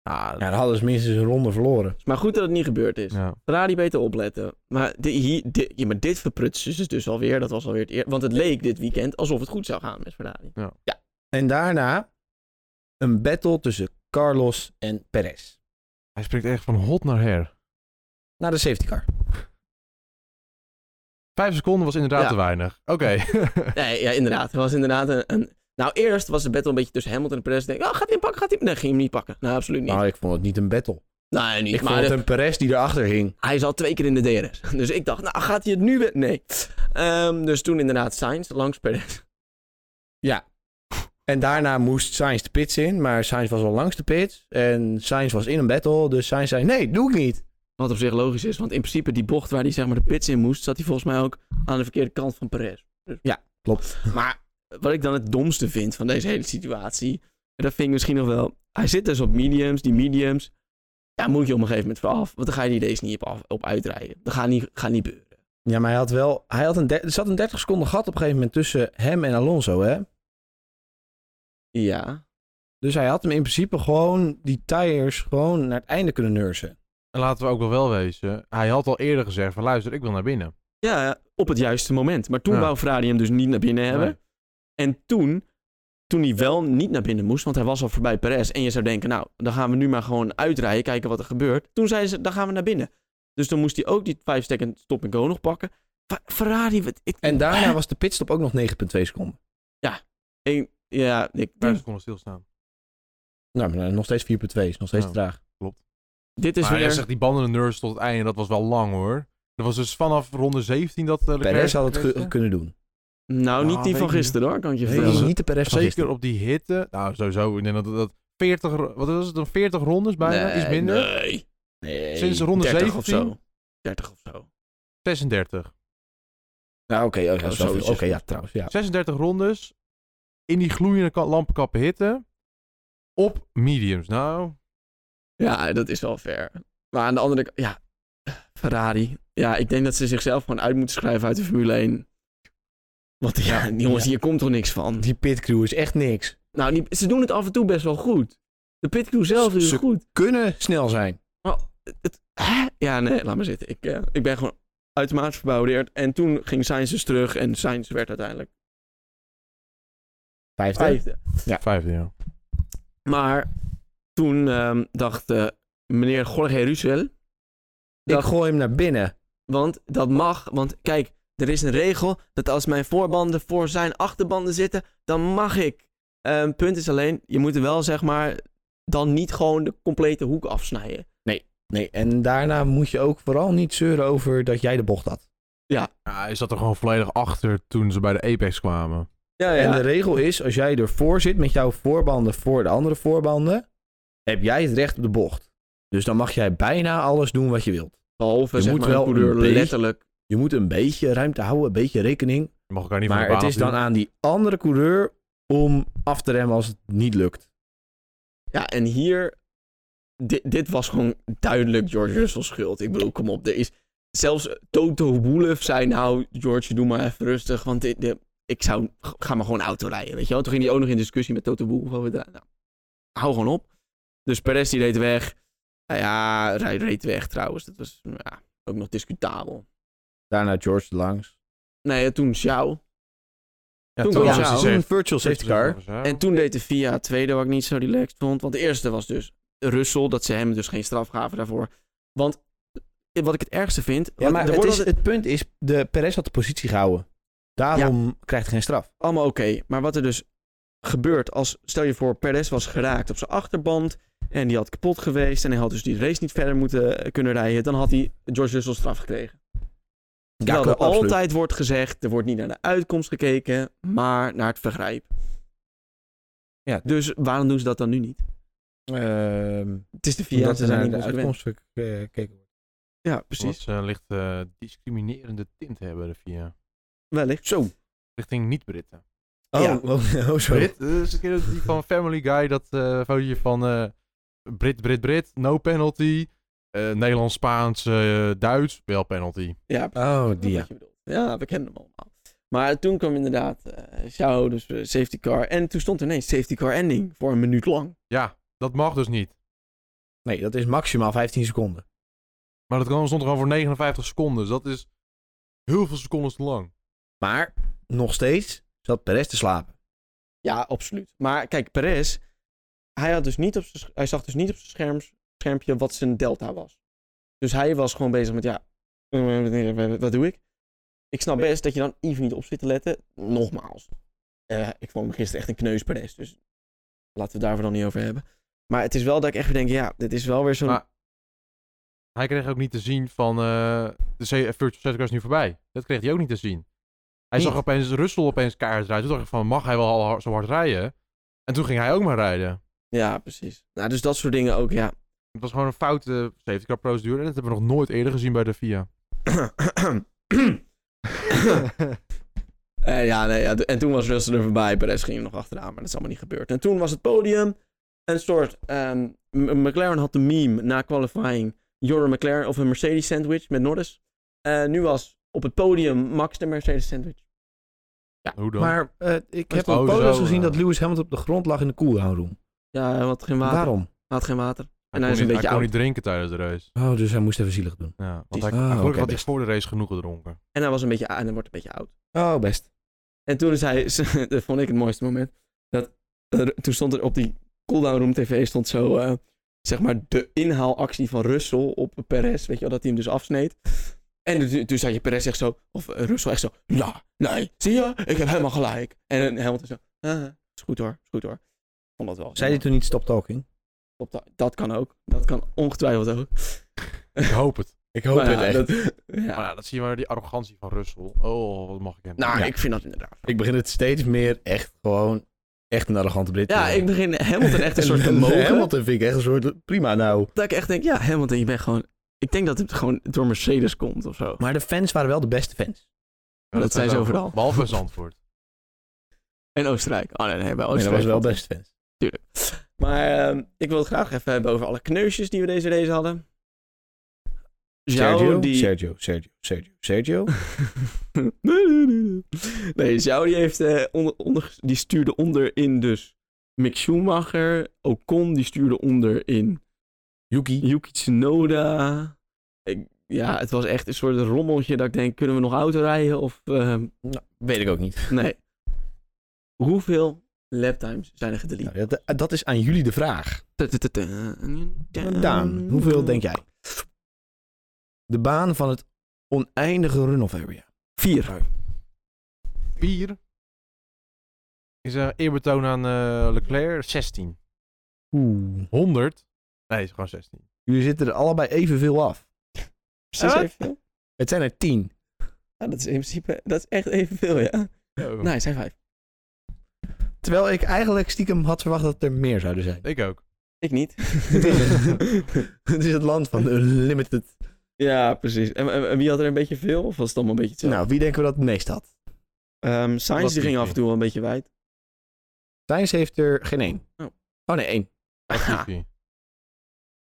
S3: Ah,
S2: Ja, dan hadden ze minstens een ronde verloren.
S1: Maar goed dat het niet gebeurd is.
S3: ja.
S1: Ferrari beter opletten. Maar, di- hier, di- ja, maar dit verprutsen ze dus alweer. Dat was alweer het eer. Want het leek dit weekend alsof het goed zou gaan met Ferrari.
S2: En daarna een battle tussen Carlos en Perez.
S3: Hij springt echt van hot naar her.
S2: Naar de safety car.
S3: Vijf seconden was inderdaad
S1: Ja.
S3: te weinig. Oké. <laughs>
S1: Nee, ja, inderdaad. Het was inderdaad een, een... Nou, eerst was de battle een beetje tussen Hamilton en Perez. Ik Denk, oh, gaat hij hem pakken? Gaat hij hem... Nee, ging hem niet pakken. Nou, absoluut niet. Nou,
S2: Nou, ik vond het niet een battle.
S1: nee, niet.
S2: Ik
S1: maar
S2: vond het
S1: de-
S2: een Perez die erachter hing.
S1: hij zat twee keer in de DRS. <laughs> Dus ik dacht, nou, gaat hij het nu weer... Nee. Ehm, dus toen inderdaad Sainz langs Perez.
S2: En daarna moest Sainz de pits in, maar Sainz was al langs de pits. En Sainz was in een battle, dus Sainz zei, nee, doe ik niet.
S1: Wat op zich logisch is, want in principe die bocht waar hij zeg maar de pits in moest... zat hij volgens mij ook aan de verkeerde kant van Perez. Dus
S2: Klopt.
S1: <laughs> Maar wat ik dan het domste vind van deze hele situatie, en dat vind ik misschien nog wel. Hij zit dus op mediums, die mediums. Ja, moet je op een gegeven moment vanaf. Want dan ga je die deze niet op, af, op uitrijden. Dat gaat niet, gaat niet beuren.
S2: Ja, maar hij had wel, hij had een, der- er zat een 30 seconden gat op een gegeven moment tussen hem en Alonso, hè.
S1: Ja.
S2: Dus hij had hem in principe gewoon, die tires, gewoon naar het einde kunnen nursen.
S3: En laten we ook wel wel wezen. Hij had al eerder gezegd van luister, ik wil naar binnen.
S1: Ja, op het juiste moment. Maar toen
S3: Ja.
S1: wou Ferrari hem dus niet naar binnen hebben.
S3: Nee.
S1: En toen, toen hij wel niet naar binnen moest, want hij was al voorbij Perez. En je zou denken, nou, dan gaan we nu maar gewoon uitrijden, kijken wat er gebeurt. Toen zeiden ze, dan gaan we naar binnen. Dus dan moest hij ook die 5 second stop en go nog pakken. Fa- Ferrari, wat, ik,
S2: En daarna was de pitstop ook nog 9,2 seconden.
S1: ik- ja, ik
S3: Vijf
S1: denk
S3: seconden stilstaan.
S2: Nou, maar nog steeds 4,2 is nog
S1: Nou.
S2: steeds
S3: Ja.
S2: te traag.
S1: Dit is
S3: maar
S1: weer.
S3: hij zegt die banden de nurse tot het einde. Dat was wel lang hoor. Dat was dus vanaf ronde 17 dat eh, Leclerc
S2: Perez had het
S3: gekregen.
S2: ge- kunnen doen.
S1: Nou, niet
S3: Ah,
S1: die
S3: weet
S1: van
S3: ik niet.
S1: gisteren hoor, kan ik je
S2: Dat was
S1: vertellen.
S2: niet de Perez van
S3: Zeker
S2: gisteren.
S3: op die hitte. Nou, sowieso. Ik denk dat dat 40, ro- wat was het dan? 40 rondes bijna?
S1: Nee,
S3: Iets minder.
S1: Nee. nee.
S3: Sinds ronde
S1: 30 of
S3: 17?
S1: zo. 30 of zo.
S3: 36.
S2: Nou, oké, oké,
S1: Ja,
S2: zo-
S1: Oh, zoiets.
S2: oké, ja, trouwens. Ja.
S3: 36 rondes. In die gloeiende ka- lampenkappen hitte. Op mediums. Nou,
S1: Ja, dat is wel fair. Maar aan de andere kant, ja, Ferrari. Ja, ik denk dat ze zichzelf gewoon uit moeten schrijven uit de Formule 1. Want ja, jongens,
S2: Ja.
S1: hier komt toch niks van.
S2: Die pitcrew is echt niks.
S1: Nou, die- ze doen het af en toe best wel goed. De pitcrew zelf doet
S2: Ze-
S1: het goed.
S2: Kunnen snel zijn.
S1: Maar het- het, hè? Ja, nee, laat maar zitten. Ik, eh, ik ben gewoon uitermate verbouwereerd. En toen ging Sainz dus terug en Sainz werd uiteindelijk
S2: Vijfde.
S1: vijfde.
S3: vijfde ja.
S1: Maar toen ehm, dacht eh, meneer Jorge Russell,
S2: Ik
S1: Dag.
S2: gooi hem naar binnen.
S1: want dat mag, want kijk, er is een regel dat als mijn voorbanden voor zijn achterbanden zitten, dan mag ik. Ehm, punt is alleen, je moet er wel zeg maar dan niet gewoon de complete hoek afsnijden.
S2: Nee, en daarna moet je ook vooral niet zeuren over dat jij de bocht had.
S3: Ja, hij zat er gewoon volledig achter toen ze bij de Apex kwamen.
S1: Ja,
S2: En de regel is, als jij ervoor zit met jouw voorbanden voor de andere voorbanden, heb jij het recht op de bocht. Dus dan mag jij bijna alles doen wat je wilt.
S1: Behalve
S2: je
S1: zeg
S2: moet
S1: maar een
S2: wel
S1: coureur
S2: een beetje-
S1: letterlijk.
S2: Je moet een beetje ruimte houden, een beetje rekening.
S3: Je mag elkaar niet van
S2: Maar
S3: de
S2: het
S3: baan
S2: is dan aan die andere coureur om af te remmen als het niet lukt.
S1: Ja, en hier, dit, dit was gewoon duidelijk George Russell's schuld. Ik bedoel, kom op, er is... Zelfs Toto Wolff zei nou, George, doe maar even rustig, want dit, dit- ik zou, ga maar gewoon auto rijden, weet je wel. Toen ging hij ook nog in discussie met Toto Wolff over het- nou, hou gewoon op. Dus Perez die reed weg. Nou ja, hij reed weg trouwens, dat was ja, ook nog discutabel.
S2: Daarna George langs.
S1: Nee, toen Xiao.
S3: Ja,
S1: Toen
S2: Toen
S1: kwam
S2: was
S1: Xiao.
S2: het een virtual safety car.
S1: En toen deed de VIA het tweede, wat ik niet zo relaxed vond. Want de eerste was dus Russell, dat ze hem dus geen straf gaven daarvoor. Want eh, wat ik het ergste vind...
S2: Ja, maar het, is,
S1: is
S2: het punt is, de Perez had de positie gehouden. Daarom krijgt hij geen straf.
S1: allemaal oké. Maar wat er dus gebeurt als... Stel je voor, Perez was geraakt op zijn achterband... en die had kapot geweest... en hij had dus die race niet verder moeten eh, kunnen rijden... dan had hij George Russell straf gekregen.
S2: Ja,
S1: Terwijl
S2: klopt,
S1: er
S2: absoluut.
S1: altijd wordt gezegd... er wordt niet naar de uitkomst gekeken... maar naar het vergrijp.
S2: Ja.
S1: Dus waarom doen ze dat dan nu niet?
S2: Ehm,
S1: Het is de
S2: omdat
S1: VIA,
S2: er
S1: ze zijn
S2: naar
S1: niet
S2: de
S1: consequent.
S2: uitkomst eh, gekeken wordt.
S1: Ja,
S3: Precies.
S1: precies.
S3: ze licht eh, discriminerende tint hebben, de VIA.
S1: Wellicht. Zo.
S3: Richting niet-Britten.
S2: Oh,
S1: Ja.
S2: oh, <laughs> oh, zo.
S3: Brit, dat is een keer dat die van Family Guy, dat eh foutje van eh, Brit, Brit, Brit, no penalty. Eh, Nederlands, Spaans, eh, Duits, wel penalty.
S1: Ja,
S2: Oh, die
S1: ja.
S2: ja.
S1: Wat je bedoelt. ja, we kennen hem allemaal. Maar toen kwam inderdaad eh Xiao, dus eh, safety car. En toen stond er ineens safety car ending voor een minuut lang.
S3: Ja, dat mag dus niet.
S2: Nee, dat is maximaal 15 seconden.
S3: Maar dat kan- stond er gewoon voor 59 seconden, dus dat is heel veel seconden te lang.
S2: Maar nog steeds zat Perez te <laughs> slapen.
S1: Ja, absoluut. Maar kijk, Perez, hij, had dus niet op z'n sch- hij zag dus niet op zijn scherms, schermpje wat zijn delta was. Dus hij was gewoon bezig met, ja, <laughs> wat doe ik? Ik snap best dat je dan even niet op zit te letten. Nogmaals, eh, ik vond hem gisteren echt een kneus Perez, dus laten we het daarvoor dan niet over hebben. Maar het is wel dat ik echt weer denk, ja, dit is wel weer zo'n...
S3: Maar hij kreeg ook niet te zien van eh, de C- virtual safety car is nu voorbij. Dat kreeg hij ook niet te zien. Hij
S1: Niet?
S3: zag opeens Russell opeens kaart rijden. Toen dacht ik van, mag hij wel al hard- zo hard rijden? En toen ging hij ook maar rijden.
S1: Ja, precies. Nou, dus dat soort dingen ook, ja. <clears throat>
S3: Het was gewoon een foute safety car procedure. En dat hebben we nog nooit eerder gezien bij de FIA.
S1: Eh, ja, nee, ja, en toen was Russell er voorbij. Perez ging er nog achteraan, maar dat is allemaal niet gebeurd. En toen was het podium. Een soort... ehm, M- McLaren had de meme na qualifying. You're a McLaren of een Mercedes sandwich met Norris. Eh, nu was op het podium Max de Mercedes sandwich.
S3: Hoe dan?
S2: Maar eh, ik heb
S3: Oh,
S2: op foto's
S3: zo,
S2: gezien
S3: ja.
S2: dat Lewis Hamilton op de grond lag in de cooldown room.
S1: Ja, hij had geen water.
S2: Waarom?
S1: Hij had geen water.
S3: hij
S1: En hij
S3: kon
S1: is een
S3: niet-
S1: beetje
S3: hij kon
S1: oud. Oh,
S3: niet drinken tijdens de race.
S2: Oh, dus hij moest even zielig doen.
S3: Ja, want
S1: Precies.
S3: hij,
S2: Ah,
S3: gelukkig
S2: oké,
S3: had hij
S2: best.
S3: voor de race genoeg gedronken.
S1: En hij was een beetje... En hij wordt een beetje oud.
S2: Oh, best.
S1: En toen is hij, <laughs> dat vond ik het mooiste moment, dat, er- toen stond er op die cooldown room tv, stond zo, eh, zeg maar, de inhaalactie van Russell op Perez, weet je wel, dat hij hem dus afsneed. En toen- toen zei je Perez echt zo, of eh, Russell echt zo, nou, nee, zie je, ik heb helemaal gelijk. En eh, Hamilton zo, ah, is goed hoor, is goed hoor. Ik Vond dat wel.
S2: Zei hij toen niet stop talking?
S1: Op da- dat kan ook, dat kan ongetwijfeld ook.
S3: Ik hoop het.
S2: Ik
S1: Maar ja, dat- <laughs> ja.
S3: Maar ja, dat zie je maar, die arrogantie van Russell. Oh, wat mag ik hem.
S1: Nou,
S2: Ja.
S1: ik vind dat inderdaad.
S2: Ik begin het steeds meer echt gewoon echt een arrogante Brit. te
S1: Ja,
S2: worden.
S1: ik begin Hamilton echt <laughs> een soort te mogen.
S2: Hamilton vind ik echt een soort prima nou.
S1: Dat ik echt denk, ja, Hamilton, je bent gewoon... Ik denk dat het gewoon door Mercedes komt of zo.
S2: Maar de fans waren wel de beste fans.
S3: <laughs> Ja,
S1: dat zijn ze
S3: ook-
S1: overal.
S3: Behalve in Zandvoort.
S1: En Oostenrijk. Oh nee, nee, bij
S2: Nee, dat
S1: Oostenrijk.
S2: was wel
S1: valt-
S2: beste fans.
S1: Tuurlijk. Maar ehm, ik wil het graag even hebben over alle kneusjes die we deze race hadden. Zhao,
S2: Sergio,
S1: die...
S2: Sergio, Sergio, Sergio, Sergio.
S1: Nee, nee, nee, nee. <laughs> Nee, Zhao die heeft... eh, onder, onder, die stuurde onderin dus Mick Schumacher. Ocon die stuurde onderin
S2: Yuki.
S1: Yuki Tsunoda. Ik- ja, het was echt een soort rommeltje dat ik denk, kunnen we nog auto rijden? Of ehm,
S2: Nou, Weet ik ook niet.
S1: Nee. Hoeveel laptimes zijn er gedelete?
S2: Nou, dat, dat is aan jullie de vraag. Daan, Mm.
S1: Daan,
S2: hoeveel denk jij? De baan van het oneindige runoff area.
S1: Vier.
S3: Bier. Is een eerbetoon aan eh, Leclerc. 16.
S2: Oeh.
S3: 100. Nee, is gewoon 16.
S2: Jullie zitten er allebei evenveel af.
S1: Precies
S3: Ah.
S1: evenveel?
S2: Het zijn er tien.
S1: Ja, Ah, dat is in principe, dat is echt evenveel, ja.
S3: Oh,
S1: Nee, het zijn vijf.
S2: Terwijl ik eigenlijk stiekem had verwacht dat er meer zouden zijn.
S3: Ik ook.
S1: Ik
S3: <laughs>
S1: niet.
S2: <laughs>
S1: <laughs>
S2: het is het land van de limited.
S1: ja, precies. En, en- en wie had er een beetje veel? Of was het allemaal een beetje hetzelfde?
S2: Nou, wie denken we dat het meest had?
S1: Nou, Sainz die ging
S3: Latifi.
S1: af en toe wel een beetje wijd.
S2: Sainz heeft er geen één.
S1: Oh.
S2: Oh nee, één.
S1: Aha.
S3: Latifi.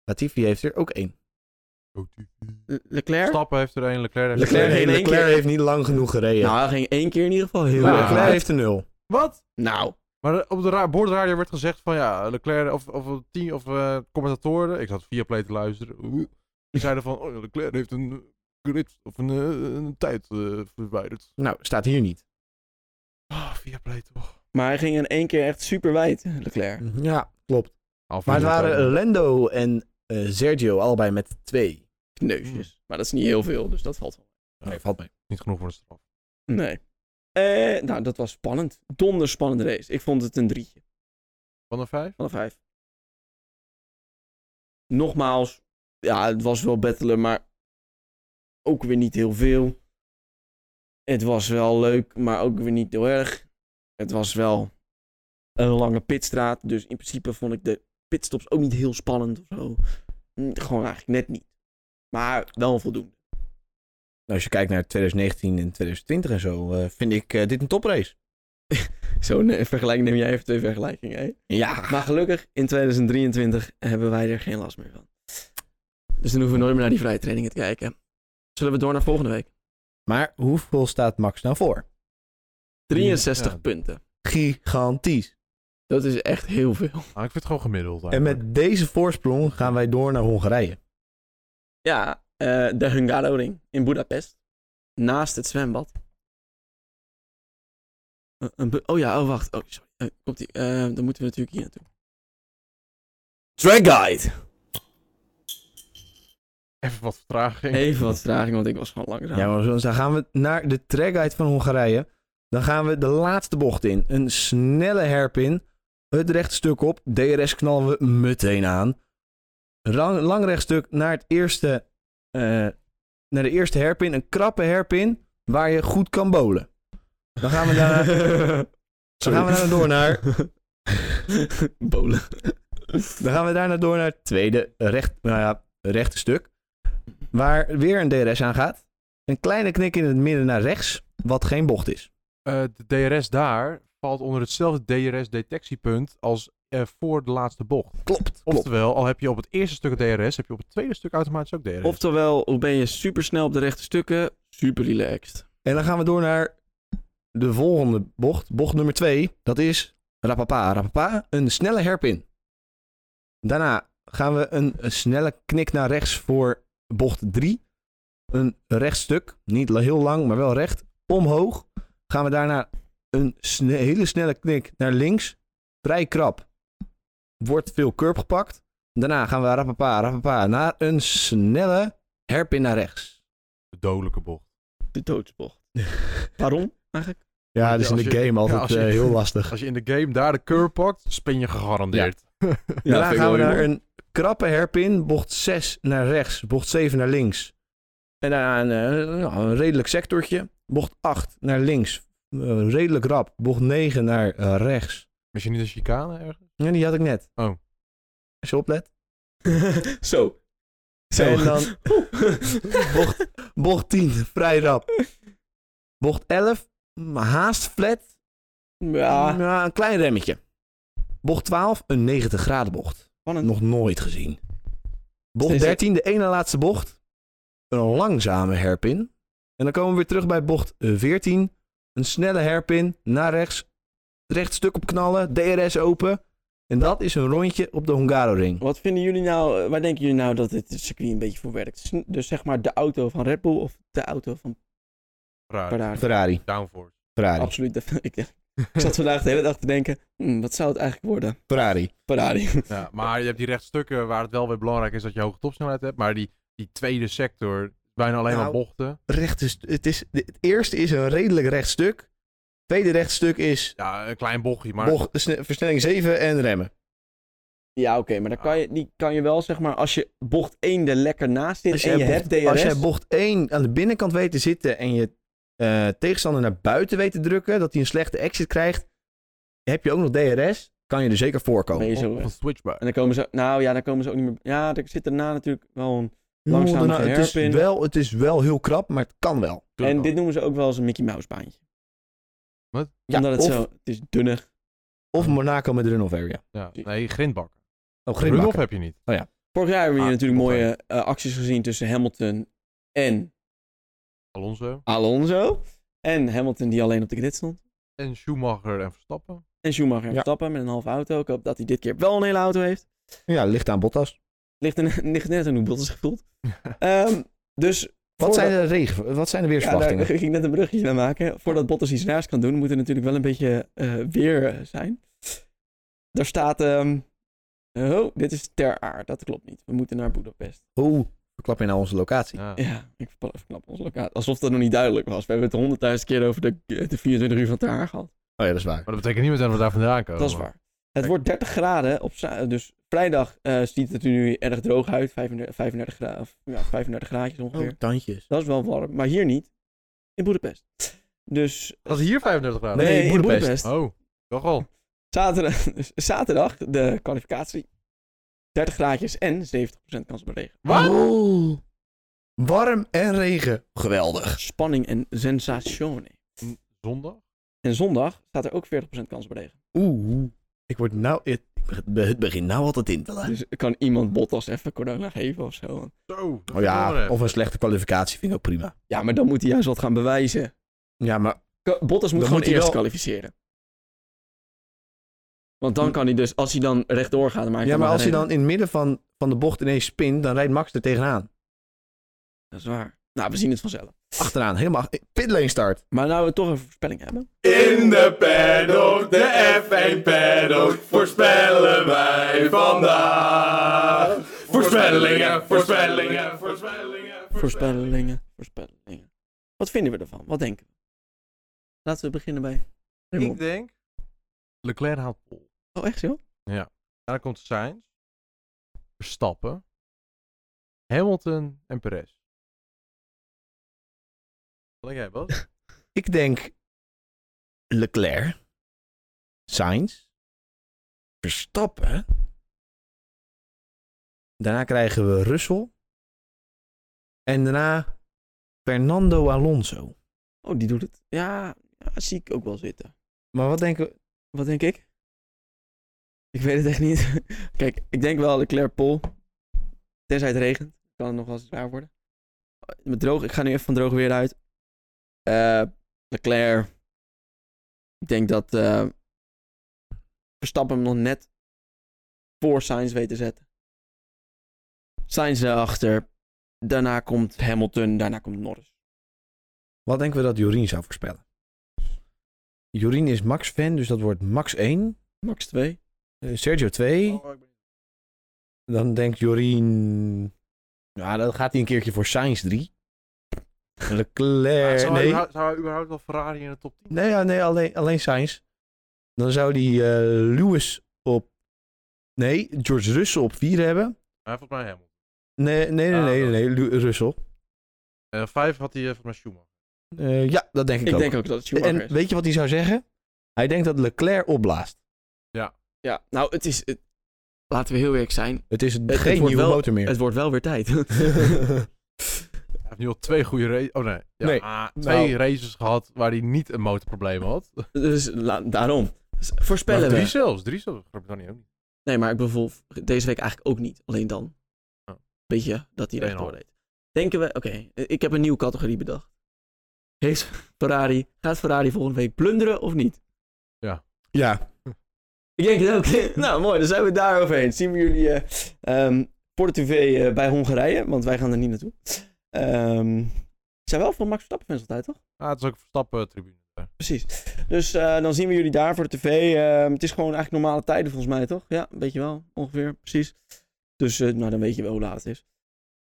S2: Latifi heeft er ook één.
S1: Le- Leclerc?
S3: Stappen heeft er één. Leclerc heeft
S1: Leclerc
S3: er één.
S1: heeft- in één keer.
S2: heeft niet lang genoeg gereden.
S1: Nou, hij ging één keer in ieder geval heel
S2: Maar
S3: Ja.
S1: erg hard.
S2: Leclerc Nou, heeft er nul.
S3: Wat?
S1: Nou,
S3: Maar op de ra- boordradio werd gezegd van ja, Leclerc of, of team of eh, commentatoren. Ik zat via play te luisteren. Oeh. Die zeiden van, oh, Leclerc heeft een grid of een, eh, een tijd eh, verwijderd.
S2: Nou, staat hier niet.
S3: Ah, via play toch.
S1: Maar hij ging in één keer echt super wijd, Leclerc.
S2: Mhm. Ja, klopt.
S3: Half
S2: Maar het
S3: minuut,
S2: waren
S3: eh,
S2: Lando en eh, Sergio allebei met twee.
S1: Neusjes. Maar dat is niet heel veel, dus dat valt wel.
S2: Nee, Oh, valt mee.
S3: niet genoeg voor de straf.
S1: Nee. Eh, nou, dat was spannend. Donderspannende race. Ik vond het een drietje
S3: Van de vijf?
S1: van de vijf. Nogmaals, ja, het was wel battelen, maar ook weer niet heel veel. Het was wel leuk, maar ook weer niet heel erg. Het was wel een lange pitstraat, dus in principe vond ik de pitstops ook niet heel spannend of zo. Hm, Gewoon eigenlijk net niet. Maar wel voldoende.
S2: Nou, als je kijkt naar 2019 en 2020 en zo, eh, vind ik eh, dit een toprace.
S1: Zo, nee, vergelijk neem jij even twee vergelijkingen, hè?
S2: Ja.
S1: Maar gelukkig, in 2023 hebben wij er geen last meer van. Dus dan hoeven we nooit meer naar die vrije trainingen te kijken. Zullen we door naar volgende week?
S2: Maar hoeveel staat Max nou voor?
S1: 63
S3: Ja.
S1: punten.
S2: Gigantisch.
S1: Dat is echt heel veel.
S3: Ah, ik vind het gewoon gemiddeld
S2: En
S3: eigenlijk.
S2: met deze voorsprong gaan wij door naar Hongarije.
S1: Ja, eh, de Hungaroring in Budapest. Naast het zwembad. Eh, een bu- oh ja, oh wacht. Oh, sorry. Eh, komt die. Eh, dan moeten we natuurlijk hier naartoe. Track Guide.
S3: Even wat vertraging.
S1: Even wat vertraging, want ik was gewoon langzaam.
S2: Ja, maar dan gaan we naar de trackguide van Hongarije. Dan gaan we de laatste bocht in. Een snelle herpin. Het rechtstuk op. DRS knallen we meteen aan. Lang, lang rechtstuk naar, het eerste, eh, naar de eerste herpin. Een krappe herpin waar je goed kan bolen. Dan gaan we
S1: <laughs>
S2: daarna, <laughs> dan gaan we daarna door naar...
S1: Bolen.
S2: Dan gaan we daarna door naar het tweede recht, nou ja, rechte stuk. Waar weer een DRS aan gaat. Een kleine knik in het midden naar rechts, wat geen bocht is.
S3: Eh, de DRS daar valt onder hetzelfde DRS-detectiepunt als eh, voor de laatste bocht.
S2: Klopt.
S3: Oftewel, al heb je op het eerste stuk het DRS, heb je op het tweede stuk automatisch ook DRS.
S1: Oftewel, hoe ben je super snel op de rechte stukken? Super relaxed.
S2: En dan gaan we door naar de volgende bocht. Bocht nummer 2. Dat is rapapa, rapapa. Een snelle herpin. Daarna gaan we een, een snelle knik naar rechts voor bocht 3. Een rechtstuk. Niet la- heel lang, maar wel recht. Omhoog. Gaan we daarna een sne- hele snelle knik naar links. Vrij krap. Wordt veel curb gepakt. Daarna gaan we rapapa, rapapa naar een snelle herpin naar rechts.
S3: De dodelijke bocht.
S1: De <laughs> doodsbocht. Waarom eigenlijk?
S2: Ja,
S3: dat is in de game altijd, eh, heel
S2: lastig.
S3: Als je in de game daar de curve pakt, spin je gegarandeerd.
S2: Daarna
S1: vind ik
S2: gaan we
S1: wel
S2: naar
S1: heel
S2: een krappe herpin. Bocht 6 naar rechts, bocht 7 naar links. En daarna een, eh, nou, een redelijk sectortje. Bocht 8 naar links, eh, redelijk rap. Bocht 9 naar eh, rechts.
S3: Is je niet een chicane ergens?
S2: Ja, die had ik net.
S3: Oh.
S2: Als je oplet.
S1: <laughs> Zo. Zo.
S2: En dan
S1: <laughs>
S2: bocht, bocht 10, <laughs> vrij rap. Bocht 11, mm, haast flat.
S1: <laughs> ja,
S2: Ja, een klein remmetje. Bocht 12, een 90 graden bocht.
S1: spannend.
S2: Nog nooit gezien. Bocht
S1: Steeds-
S2: 13, de ene laatste bocht. Een langzame herpin. En dan komen we weer terug bij bocht eh, 14. Een snelle herpin naar rechts. Rechtstuk op knallen, DRS open. En dat is een rondje op de Hungaroring.
S1: Wat vinden jullie nou, eh, waar denken jullie nou dat dit circuit een beetje voor werkt? Sn- Dus zeg maar de auto van Red Bull of de auto van
S3: Raar.
S1: Ferrari?
S2: Ferrari,
S3: Downforce.
S2: Ferrari,
S1: Absoluut. dat- <laughs> Ik, ik zat vandaag de hele dag te denken, "Hmm, wat zou het eigenlijk worden?
S2: Ferrari.
S1: Ferrari.
S3: Ja, maar je hebt die rechtstukken waar het wel weer belangrijk is dat je hoge topsnelheid hebt. Maar die, die tweede sector, bijna alleen
S2: Nou,
S3: maar bochten.
S2: Recht is, het, is, het eerste is een redelijk rechtstuk. Tweede rechtstuk is
S3: Ja, een klein bochtje, maar...
S2: bocht, sne- versnelling 7 en remmen.
S1: Ja, oké, maar dan kan je, die kan je wel zeg maar, als je bocht 1 er lekker naast zit en je hebt DRS.
S2: als jij bocht 1 aan de binnenkant weet te zitten en je eh, tegenstander naar buiten weet te drukken, dat hij een slechte exit krijgt, heb je ook nog DRS, kan je er zeker
S1: ben
S2: voorkomen.
S1: je zo
S3: of, of een switchback.
S1: En dan komen ze, nou ja, dan komen ze ook niet meer. Ja, er zit daarna natuurlijk wel een.
S2: Langzaam
S1: langzaam de
S2: nou- het, is
S1: herpin.
S2: wel, het is wel heel krap, maar het kan wel.
S1: En dit noemen ze ook wel eens een Mickey Mouse baantje.
S3: Wat?
S2: Ja,
S1: Omdat het
S2: of-
S1: zo, het is dunner.
S2: Of Monaco met de runoff Oh, area.
S3: Ja, nee, grindbak.
S2: Oh,
S3: Runoff
S2: grindbakken.
S3: heb je niet.
S1: Vorig jaar hebben we hier
S3: Ah,
S1: natuurlijk
S3: nog
S1: mooie eh, acties gezien tussen Hamilton en
S3: Alonso.
S1: Alonso. En Hamilton die alleen op de grid stond.
S3: En Schumacher en Verstappen.
S1: En Schumacher en
S2: Ja.
S1: Verstappen met een halve auto. Ik hoop dat hij dit keer wel een hele auto heeft.
S2: Ja, ligt aan Bottas.
S1: <laughs> Ligt, er, ligt net aan hoe Bottas zich voelt. Ehm, dus
S2: Wat zijn,
S1: Voordat-
S2: de regen, wat zijn
S1: Ja, daar
S2: de
S1: <laughs>
S2: weersverwachtingen?
S1: ging ik net een bruggetje naar maken. Voordat Bottas iets naast kan doen, moet er natuurlijk wel een beetje eh, weer eh, zijn. Daar staat... ehm, oh, dit is ter aar. Dat klopt niet. We moeten naar Budapest.
S2: Oeh, klap je naar onze locatie.
S3: Ja.
S1: Ja, ik verpa- verklap onze locatie. Alsof dat nog niet duidelijk was. We hebben het honderdduizend keer over de, de 24 uur van ter aar gehad.
S2: Oh ja, dat is waar.
S3: Maar dat betekent niet meteen dat we daar vandaan komen.
S1: Dat is waar. Het wordt 30 graden op za- dus vrijdag eh, ziet het er nu erg droog uit, 35, 35, gra- of, ja, 35 graadjes ongeveer.
S2: Oh. tandjes.
S1: Dat is wel warm, maar hier niet. In Boedapest. Dus
S3: Dat is hier 35 graden.
S2: Ah, Nee,
S1: in
S2: Boedapest.
S3: Oh, toch al.
S1: Zaterdag, <laughs> dus zaterdag de kwalificatie. 30 graadjes en 70% kans op regen.
S3: Wat?
S2: Oeh. Warm en regen. Geweldig.
S1: Spanning en sensazione.
S3: Zondag?
S1: En zondag staat er ook 40% kans op regen.
S2: Oeh. Ik word nou... Het, het begint nou altijd in te laten.
S1: Dus kan iemand Bottas even corona geven of zo?
S3: Zo. dat
S2: Oh
S3: veranderen.
S2: ja, of een slechte kwalificatie vind ik ook prima.
S1: Ja, maar dan moet hij juist wat gaan bewijzen.
S2: Ja, maar
S1: K- Bottas moet
S2: Dan
S1: gewoon
S2: moet hij
S1: eerst
S2: wel-
S1: kwalificeren. Want dan kan hij dus, als hij dan rechtdoor gaat... Maar
S2: Ja, maar als hij dan in het midden van, van de bocht ineens spint, dan rijdt Max er tegenaan.
S1: Dat is waar. Nou, we zien het vanzelf.
S2: Achteraan, helemaal ach- pitlane start.
S1: Maar nou we toch een voorspelling hebben.
S4: In de paddock, de F1 paddock, voorspellen wij vandaag. Voorspellingen, voorspellingen, voorspellingen,
S1: Voorspellingen, voorspellingen. Wat vinden we ervan? Wat denken we? Laten we beginnen bij... Raymond.
S3: Ik denk... Leclerc haalt pol.
S1: Oh, echt joh?
S3: En dan komt Sainz. Verstappen. Hamilton en Perez. Wat denk jij, Bas?
S2: Ik denk Leclerc, Sainz, Verstappen. Daarna krijgen we Russell. En daarna Fernando Alonso.
S1: Oh, die doet het. Ja, ja, zie ik ook wel zitten.
S2: Maar wat denken we?
S1: Wat denk ik? Ik weet het echt niet. <laughs> Kijk, ik denk wel Leclerc Pol. Tenzij het regent. Kan het nog wel eens raar worden. Met droog, ik ga nu even van droog weer uit. Eh Leclerc. Ik denk dat eh, Verstappen hem nog net voor Sainz weet te zetten. Sainz erachter. Daarna komt Hamilton. Daarna komt Norris.
S2: Wat denken we dat Jorien zou voorspellen? Jorien is Max-fan, dus dat wordt Max 1.
S1: Max 2.
S2: Eh, Sergio 2. Dan denkt Jorien... Ja, dan gaat hij een keertje voor Sainz 3. Leclerc...
S1: Ah,
S3: zou,
S2: nee,
S3: hij, zou hij überhaupt wel Ferrari in de top 10?
S2: nee, ja, nee alleen, alleen Sainz. Dan zou hij eh, Lewis op... Nee, George Russell op 4 hebben.
S3: Hij volgens mij Hamilton.
S2: Nee, nee, nee,
S3: Ah,
S2: nee,
S3: dat-
S2: nee, Lu- Russell.
S3: Eh, vijf had hij eh, volgens mij Schumacher.
S2: Eh, ja, dat denk ik,
S1: Ik
S2: ook.
S1: denk ook dat het Schumacher is.
S2: en weet je wat hij zou zeggen? Hij denkt dat Leclerc opblaast.
S1: Ja, nou, het is. het- laten we heel eerlijk zijn.
S2: Het is geen
S1: het wordt
S2: nieuwe
S1: wel-
S2: motor meer.
S1: Het wordt wel weer tijd.
S3: Hij heeft nu al twee goede races... Oh nee. Ja,
S2: Nee,
S3: ah, twee races gehad waar hij niet een motorprobleem had.
S1: <laughs> dus la- daarom. S- Voorspellen
S3: Maar drie
S1: we.
S3: zelfs. Drie zelfs. Groot-Brittannië ook niet.
S1: Nee, maar ik bedoel deze week eigenlijk ook niet. Alleen dan.
S3: Oh.
S1: Weet je dat hij
S3: Tweeënhalf.
S1: rechtdoor deed. Denken we, oké, eh, ik heb een nieuwe categorie bedacht. Heeft Ferrari, gaat Ferrari volgende week plunderen of niet? <laughs>
S2: ja,
S1: Ik denk het ook. nou, mooi, dan zijn we daar overheen. Zien we jullie eh, ehm, voor de tv eh, bij Hongarije, want wij gaan er niet naartoe. Ehm zijn wel van Max Verstappen fans altijd, toch?
S3: Ah, het is ook Verstappen-tribune.
S1: Precies. Dus eh, dan zien we jullie daar voor de tv. Ehm, het is gewoon eigenlijk normale tijden volgens mij, toch? Ja, weet je wel. Ongeveer, precies. Dus eh, nou, dan weet je wel hoe laat het is.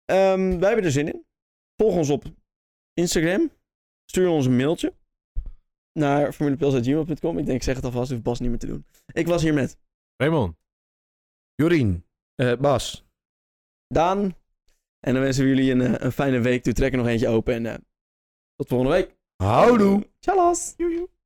S1: Ehm, wij hebben er zin in. Volg ons op Instagram. Stuur ons een mailtje. Naar formulepils.gmail.com. Ik denk, ik zeg het alvast, hoeft Bas niet meer te doen. Ik was hier met
S3: Raymond.
S2: Jorien, eh, Bas,
S1: Daan. En dan wensen we jullie een, eh, een fijne week. Doe trek er nog eentje open. En eh, tot volgende week.
S2: houdoe!
S1: Tjallas.
S3: Joejoe.